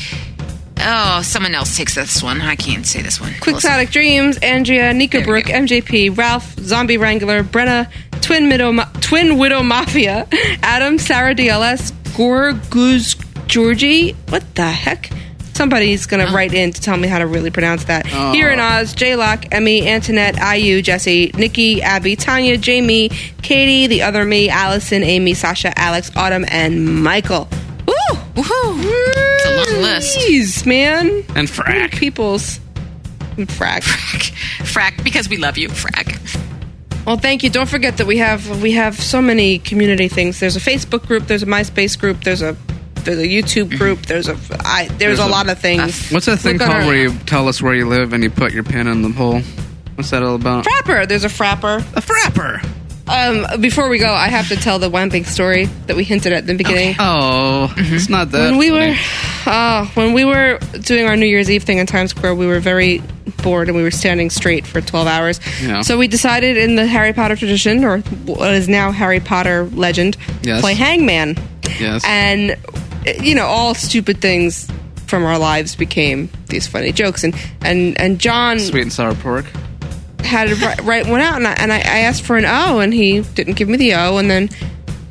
[SPEAKER 4] Oh, someone else takes this one. I can't say this one.
[SPEAKER 7] Quixotic Dreams, Andrea, Nika Brooke, MJP, Ralph, Zombie Wrangler, Brenna, Twin, Middle Ma- Twin Widow Mafia, Adam, Sarah DLS, Gorguz Georgie. What the heck? Somebody's going to write in to tell me how to really pronounce that.
[SPEAKER 17] Oh.
[SPEAKER 7] Here in Oz, J Lock, Emmy, Antoinette, IU, Jesse, Nikki, Abby, Tanya, Jamie, Katie, the other me, Allison, Amy, Sasha, Alex, Autumn, and Michael. Woo!
[SPEAKER 4] Woohoo!
[SPEAKER 7] It's
[SPEAKER 4] a long list.
[SPEAKER 7] Jeez, man.
[SPEAKER 16] And frack.
[SPEAKER 7] Peoples.
[SPEAKER 4] [LAUGHS]
[SPEAKER 7] Frack. Frack.
[SPEAKER 4] Frack, because we love you, Frack.
[SPEAKER 7] Well, thank you. Don't forget that we have we have so many community things. There's a Facebook group. There's a MySpace group. There's a there's a
[SPEAKER 4] Mm-hmm.
[SPEAKER 7] YouTube group. There's a I, there's, a, lot of things.
[SPEAKER 8] What's that thing
[SPEAKER 7] Look on
[SPEAKER 8] called
[SPEAKER 7] our-
[SPEAKER 8] where you tell us where you live and you put your pin in the hole? What's that all about?
[SPEAKER 7] Frapper. There's a frapper.
[SPEAKER 8] A frapper.
[SPEAKER 7] Um, before we go, I have to tell the Wamping story that we hinted at in the beginning.
[SPEAKER 8] Oh, it's not that.
[SPEAKER 7] when we
[SPEAKER 8] funny.
[SPEAKER 7] were uh, when we were doing our New Year's Eve thing in Times Square, we were very bored and we were standing straight for 12 hours.
[SPEAKER 17] Yeah.
[SPEAKER 7] So we decided in the Harry Potter tradition or what is now Harry Potter legend,
[SPEAKER 17] Yes.
[SPEAKER 7] play hangman.
[SPEAKER 17] Yes.
[SPEAKER 7] And you know, all stupid things from our lives became these funny jokes and and and John
[SPEAKER 8] sweet and sour pork.
[SPEAKER 7] had to write, write one out, and, I, and I, I asked for an O, and he didn't give me the O, and then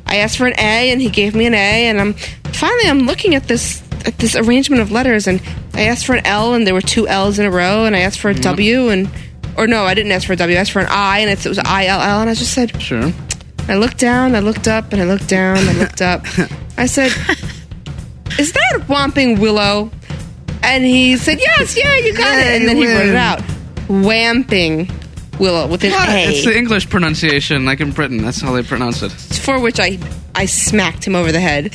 [SPEAKER 7] I asked for an A, and he gave me an A, and I'm finally I'm looking at this at this arrangement of letters, and I asked for an L, and there were two L's in a row, and I asked for a W, and or no, I didn't ask for a W, I asked for an I, and it's, it was I L L, and I just said,
[SPEAKER 8] Sure.
[SPEAKER 7] I looked down, I looked up, and I looked down, I looked up, I said, is that Whomping Willow? And he said, yes, yeah, you got it, and then he wrote it out, Whamping Willow with an A.
[SPEAKER 8] It's the English pronunciation, like in Britain. That's how they pronounce it.
[SPEAKER 7] for which I I smacked him over the head.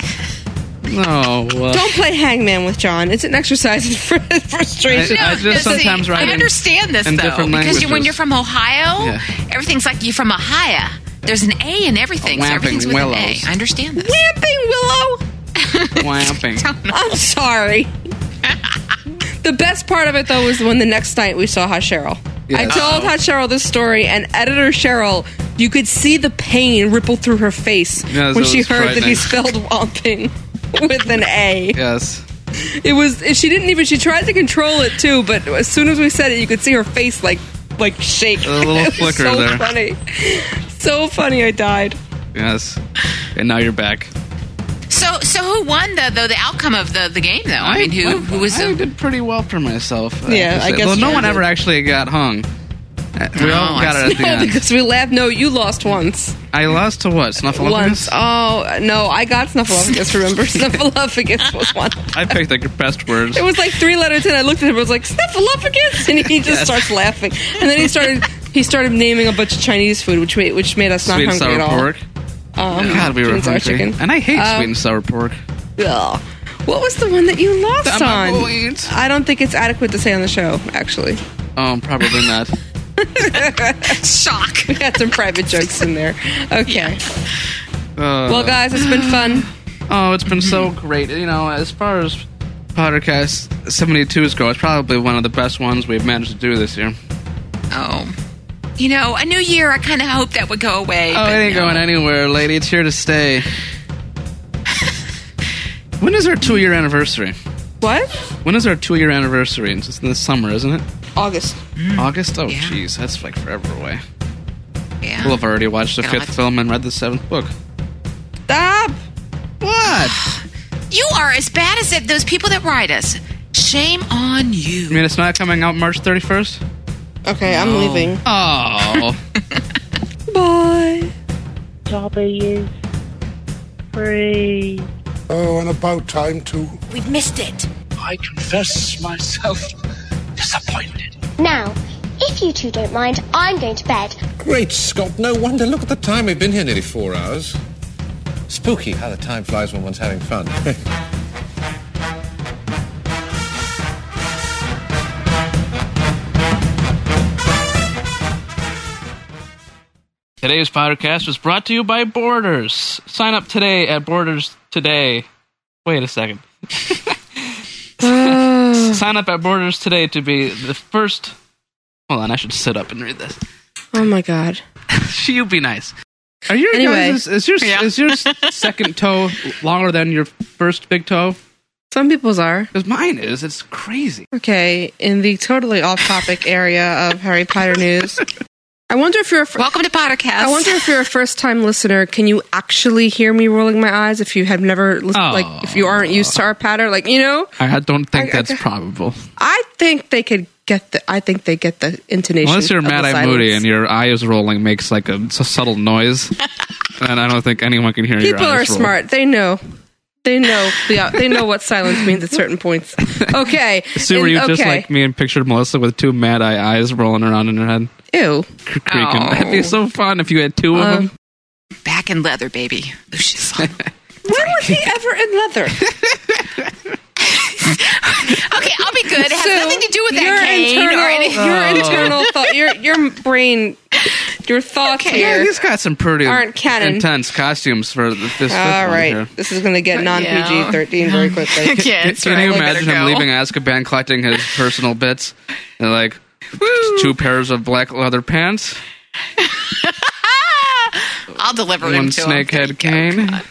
[SPEAKER 8] No.
[SPEAKER 7] [LAUGHS]
[SPEAKER 8] uh,
[SPEAKER 7] Don't play hangman with John. It's an exercise in [LAUGHS] fr- frustration.
[SPEAKER 8] I- I just
[SPEAKER 4] see,
[SPEAKER 8] sometimes write
[SPEAKER 4] I
[SPEAKER 8] in-
[SPEAKER 4] understand this
[SPEAKER 8] in
[SPEAKER 4] though,
[SPEAKER 8] different
[SPEAKER 4] because you, when
[SPEAKER 8] languages.
[SPEAKER 4] you're from Ohio,
[SPEAKER 8] Yeah.
[SPEAKER 4] everything's like you're from Ohio. There's an A in everything. So
[SPEAKER 8] Wamping
[SPEAKER 4] everything's with an
[SPEAKER 8] willows.
[SPEAKER 4] A. I understand this.
[SPEAKER 7] Wamping willow.
[SPEAKER 8] Whamping.
[SPEAKER 7] I'm sorry. the best part of it though was when the next night we saw Hot Cheryl. I
[SPEAKER 17] Yes.
[SPEAKER 7] told
[SPEAKER 8] Uh-huh.
[SPEAKER 17] Uh-oh.
[SPEAKER 7] Hot Cheryl this story, and editor Cheryl, you could see the pain ripple through her face
[SPEAKER 17] Yes,
[SPEAKER 7] when
[SPEAKER 17] it
[SPEAKER 7] she
[SPEAKER 17] was
[SPEAKER 7] heard that
[SPEAKER 17] frightening.
[SPEAKER 7] he spelled "womping" [LAUGHS] with an A.
[SPEAKER 8] Yes.
[SPEAKER 7] It was. She didn't even. She tried to control it too, but as soon as we said it, you could see her face like like shake.
[SPEAKER 8] A little
[SPEAKER 7] [LAUGHS] It was
[SPEAKER 8] flicker
[SPEAKER 7] so
[SPEAKER 8] there.
[SPEAKER 7] Funny. So funny. I died.
[SPEAKER 8] Yes. And now you're back.
[SPEAKER 4] So, so who won the though the outcome of the, the game though? I, mean, who who was?
[SPEAKER 8] I did pretty well for myself. I have to
[SPEAKER 7] Yeah, I
[SPEAKER 8] say.
[SPEAKER 7] guess
[SPEAKER 8] Well, no
[SPEAKER 7] you
[SPEAKER 8] one
[SPEAKER 7] did. Oh,
[SPEAKER 8] ever actually got hung. Uh, We all got it at the
[SPEAKER 7] no, [LAUGHS]
[SPEAKER 8] end.
[SPEAKER 7] because we laughed. No, you lost once.
[SPEAKER 8] I lost to what? Snuffleupagus.
[SPEAKER 7] Once. Oh no, I got snuffleupagus. Remember, [LAUGHS] snuffleupagus was one.
[SPEAKER 8] I picked the best words.
[SPEAKER 7] It was like three letters, and I looked at him. I was like snuffleupagus, and he just
[SPEAKER 8] Yes.
[SPEAKER 7] starts laughing. And then he started he started naming a bunch of Chinese food, which made which made us not
[SPEAKER 8] sweet and
[SPEAKER 7] hungry at
[SPEAKER 8] sour
[SPEAKER 7] all.
[SPEAKER 8] pork.
[SPEAKER 7] Um,
[SPEAKER 8] God, we were
[SPEAKER 7] sweet and sour
[SPEAKER 8] hungry.
[SPEAKER 7] chicken.
[SPEAKER 8] And I hate
[SPEAKER 7] Um,
[SPEAKER 8] sweet and sour pork.
[SPEAKER 7] Ugh. What was the one that you lost
[SPEAKER 8] I'm
[SPEAKER 7] on?
[SPEAKER 8] not
[SPEAKER 7] I don't think it's adequate to say on the show, actually. [LAUGHS]
[SPEAKER 8] Um, probably not.
[SPEAKER 4] Shock.
[SPEAKER 7] We had some private jokes in there. Okay.
[SPEAKER 8] Uh,
[SPEAKER 7] Well, guys, it's been fun.
[SPEAKER 8] [GASPS] Oh, it's been so great. You know, as far as Pottercast 72 go, it's probably one of the best ones we've managed to do this year.
[SPEAKER 4] Oh. You know, a new year. I kind of hoped that would go away.
[SPEAKER 8] Oh,
[SPEAKER 4] but
[SPEAKER 8] it ain't
[SPEAKER 4] no.
[SPEAKER 8] going anywhere, lady. It's here to stay. when is our two year anniversary?
[SPEAKER 7] What?
[SPEAKER 8] When is our two year anniversary? It's in the summer, isn't it?
[SPEAKER 7] August.
[SPEAKER 8] August? Oh, jeez. That's like forever away.
[SPEAKER 4] Yeah.
[SPEAKER 8] We'll have already watched the
[SPEAKER 4] Got a lot
[SPEAKER 8] fifth film and read the seventh book.
[SPEAKER 7] Stop.
[SPEAKER 8] What?
[SPEAKER 4] You are as bad as that- those people that write us. Shame on you.
[SPEAKER 8] I mean, it's not coming out March 31st?
[SPEAKER 7] Okay, I'm
[SPEAKER 8] No.
[SPEAKER 7] leaving.
[SPEAKER 8] Oh.
[SPEAKER 7] Bye.
[SPEAKER 18] W free.
[SPEAKER 19] Oh, and about time too.
[SPEAKER 18] We've missed it.
[SPEAKER 20] I confess myself disappointed.
[SPEAKER 5] Now, if you two don't mind, I'm going to bed.
[SPEAKER 1] Great Scott, no wonder. Look at the time. We've been here nearly four hours. Spooky how the time flies when one's having fun. [LAUGHS]
[SPEAKER 8] Today's podcast was brought to you by Borders. Sign up today at Borders today. Wait
[SPEAKER 7] [LAUGHS]
[SPEAKER 8] a second. Sign up at Borders today to be the first. Hold on, I should sit up and read this. [LAUGHS]
[SPEAKER 7] Oh my god.
[SPEAKER 8] you be nice. Are your
[SPEAKER 7] Anyway.
[SPEAKER 8] guys, is your is your [LAUGHS] second toe longer than your first big toe?
[SPEAKER 7] Some people's are.
[SPEAKER 8] Because mine is. It's crazy.
[SPEAKER 7] Okay, in the totally off-topic area of Harry Potter news, I wonder if you're a fir-
[SPEAKER 4] welcome to Pottercast.
[SPEAKER 7] I wonder if you're a first-time listener. Can you actually hear me rolling my eyes if you have never listened? Like if you aren't used to our patter, like you know.
[SPEAKER 8] I don't think
[SPEAKER 7] I- I-
[SPEAKER 8] that's probable.
[SPEAKER 7] I think they could get the. I think they get the intonation.
[SPEAKER 8] Unless you're
[SPEAKER 7] of the
[SPEAKER 8] Mad Eye
[SPEAKER 7] silence.
[SPEAKER 8] Moody and your eyes rolling makes like a, s-
[SPEAKER 7] [LAUGHS]
[SPEAKER 8] subtle noise, and I don't think anyone can hear your
[SPEAKER 7] People are
[SPEAKER 8] eyes roll.
[SPEAKER 7] smart. They know. They know. The, they know what silence means at certain
[SPEAKER 8] [LAUGHS]
[SPEAKER 7] points. Okay.
[SPEAKER 8] See, were
[SPEAKER 7] And-
[SPEAKER 8] you
[SPEAKER 7] okay.
[SPEAKER 8] just like me and pictured Melissa with two Mad Eye eyes rolling around in her head,
[SPEAKER 7] Ew.
[SPEAKER 8] cr- creaking?
[SPEAKER 7] Oh.
[SPEAKER 8] That'd be so fun if you had two
[SPEAKER 7] Uh,
[SPEAKER 8] of them.
[SPEAKER 4] Back in leather, baby.
[SPEAKER 8] [LAUGHS]
[SPEAKER 4] Ooh, she's fun.
[SPEAKER 7] When was he ever in leather?
[SPEAKER 4] okay, I'll be good. It has nothing to do with that
[SPEAKER 7] your
[SPEAKER 4] cane
[SPEAKER 7] internal,
[SPEAKER 4] or anything.
[SPEAKER 7] Your
[SPEAKER 8] Oh.
[SPEAKER 7] internal thought, your your brain, your thoughts
[SPEAKER 8] Yeah,
[SPEAKER 7] here.
[SPEAKER 8] he's got some pretty
[SPEAKER 7] Aren't canon.
[SPEAKER 8] intense costumes for th- this.
[SPEAKER 7] All right, this is going to get non PG thirteen very quickly.
[SPEAKER 4] [LAUGHS]
[SPEAKER 8] can, can you imagine him leaving Azkaban
[SPEAKER 7] [LAUGHS]
[SPEAKER 8] collecting his personal bits? And like two pairs of black leather pants,
[SPEAKER 4] I'll deliver him
[SPEAKER 8] one
[SPEAKER 4] to him.
[SPEAKER 8] snakehead cane.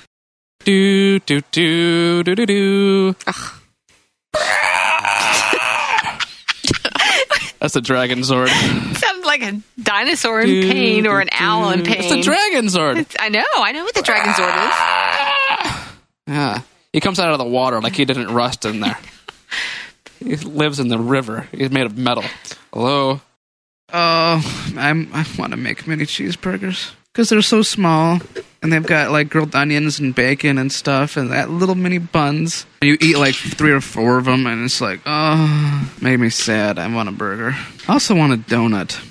[SPEAKER 8] Do do do do do do. [LAUGHS] That's a dragon sword.
[SPEAKER 4] [LAUGHS] Sounds like a dinosaur in pain or an owl in pain.
[SPEAKER 8] It's a dragon sword.
[SPEAKER 4] It's- I know. I know what the dragon zord is.
[SPEAKER 8] Yeah, he comes out of the water like he didn't rust in [LAUGHS] there. he lives in the river. He's made of metal. Hello. Oh, I'm, I want to make mini cheeseburgers because they're so small and they've got like grilled onions and bacon and stuff and that little mini buns. And you eat like three or four of them and it's like, oh, made me sad. I want a burger. I also want a donut.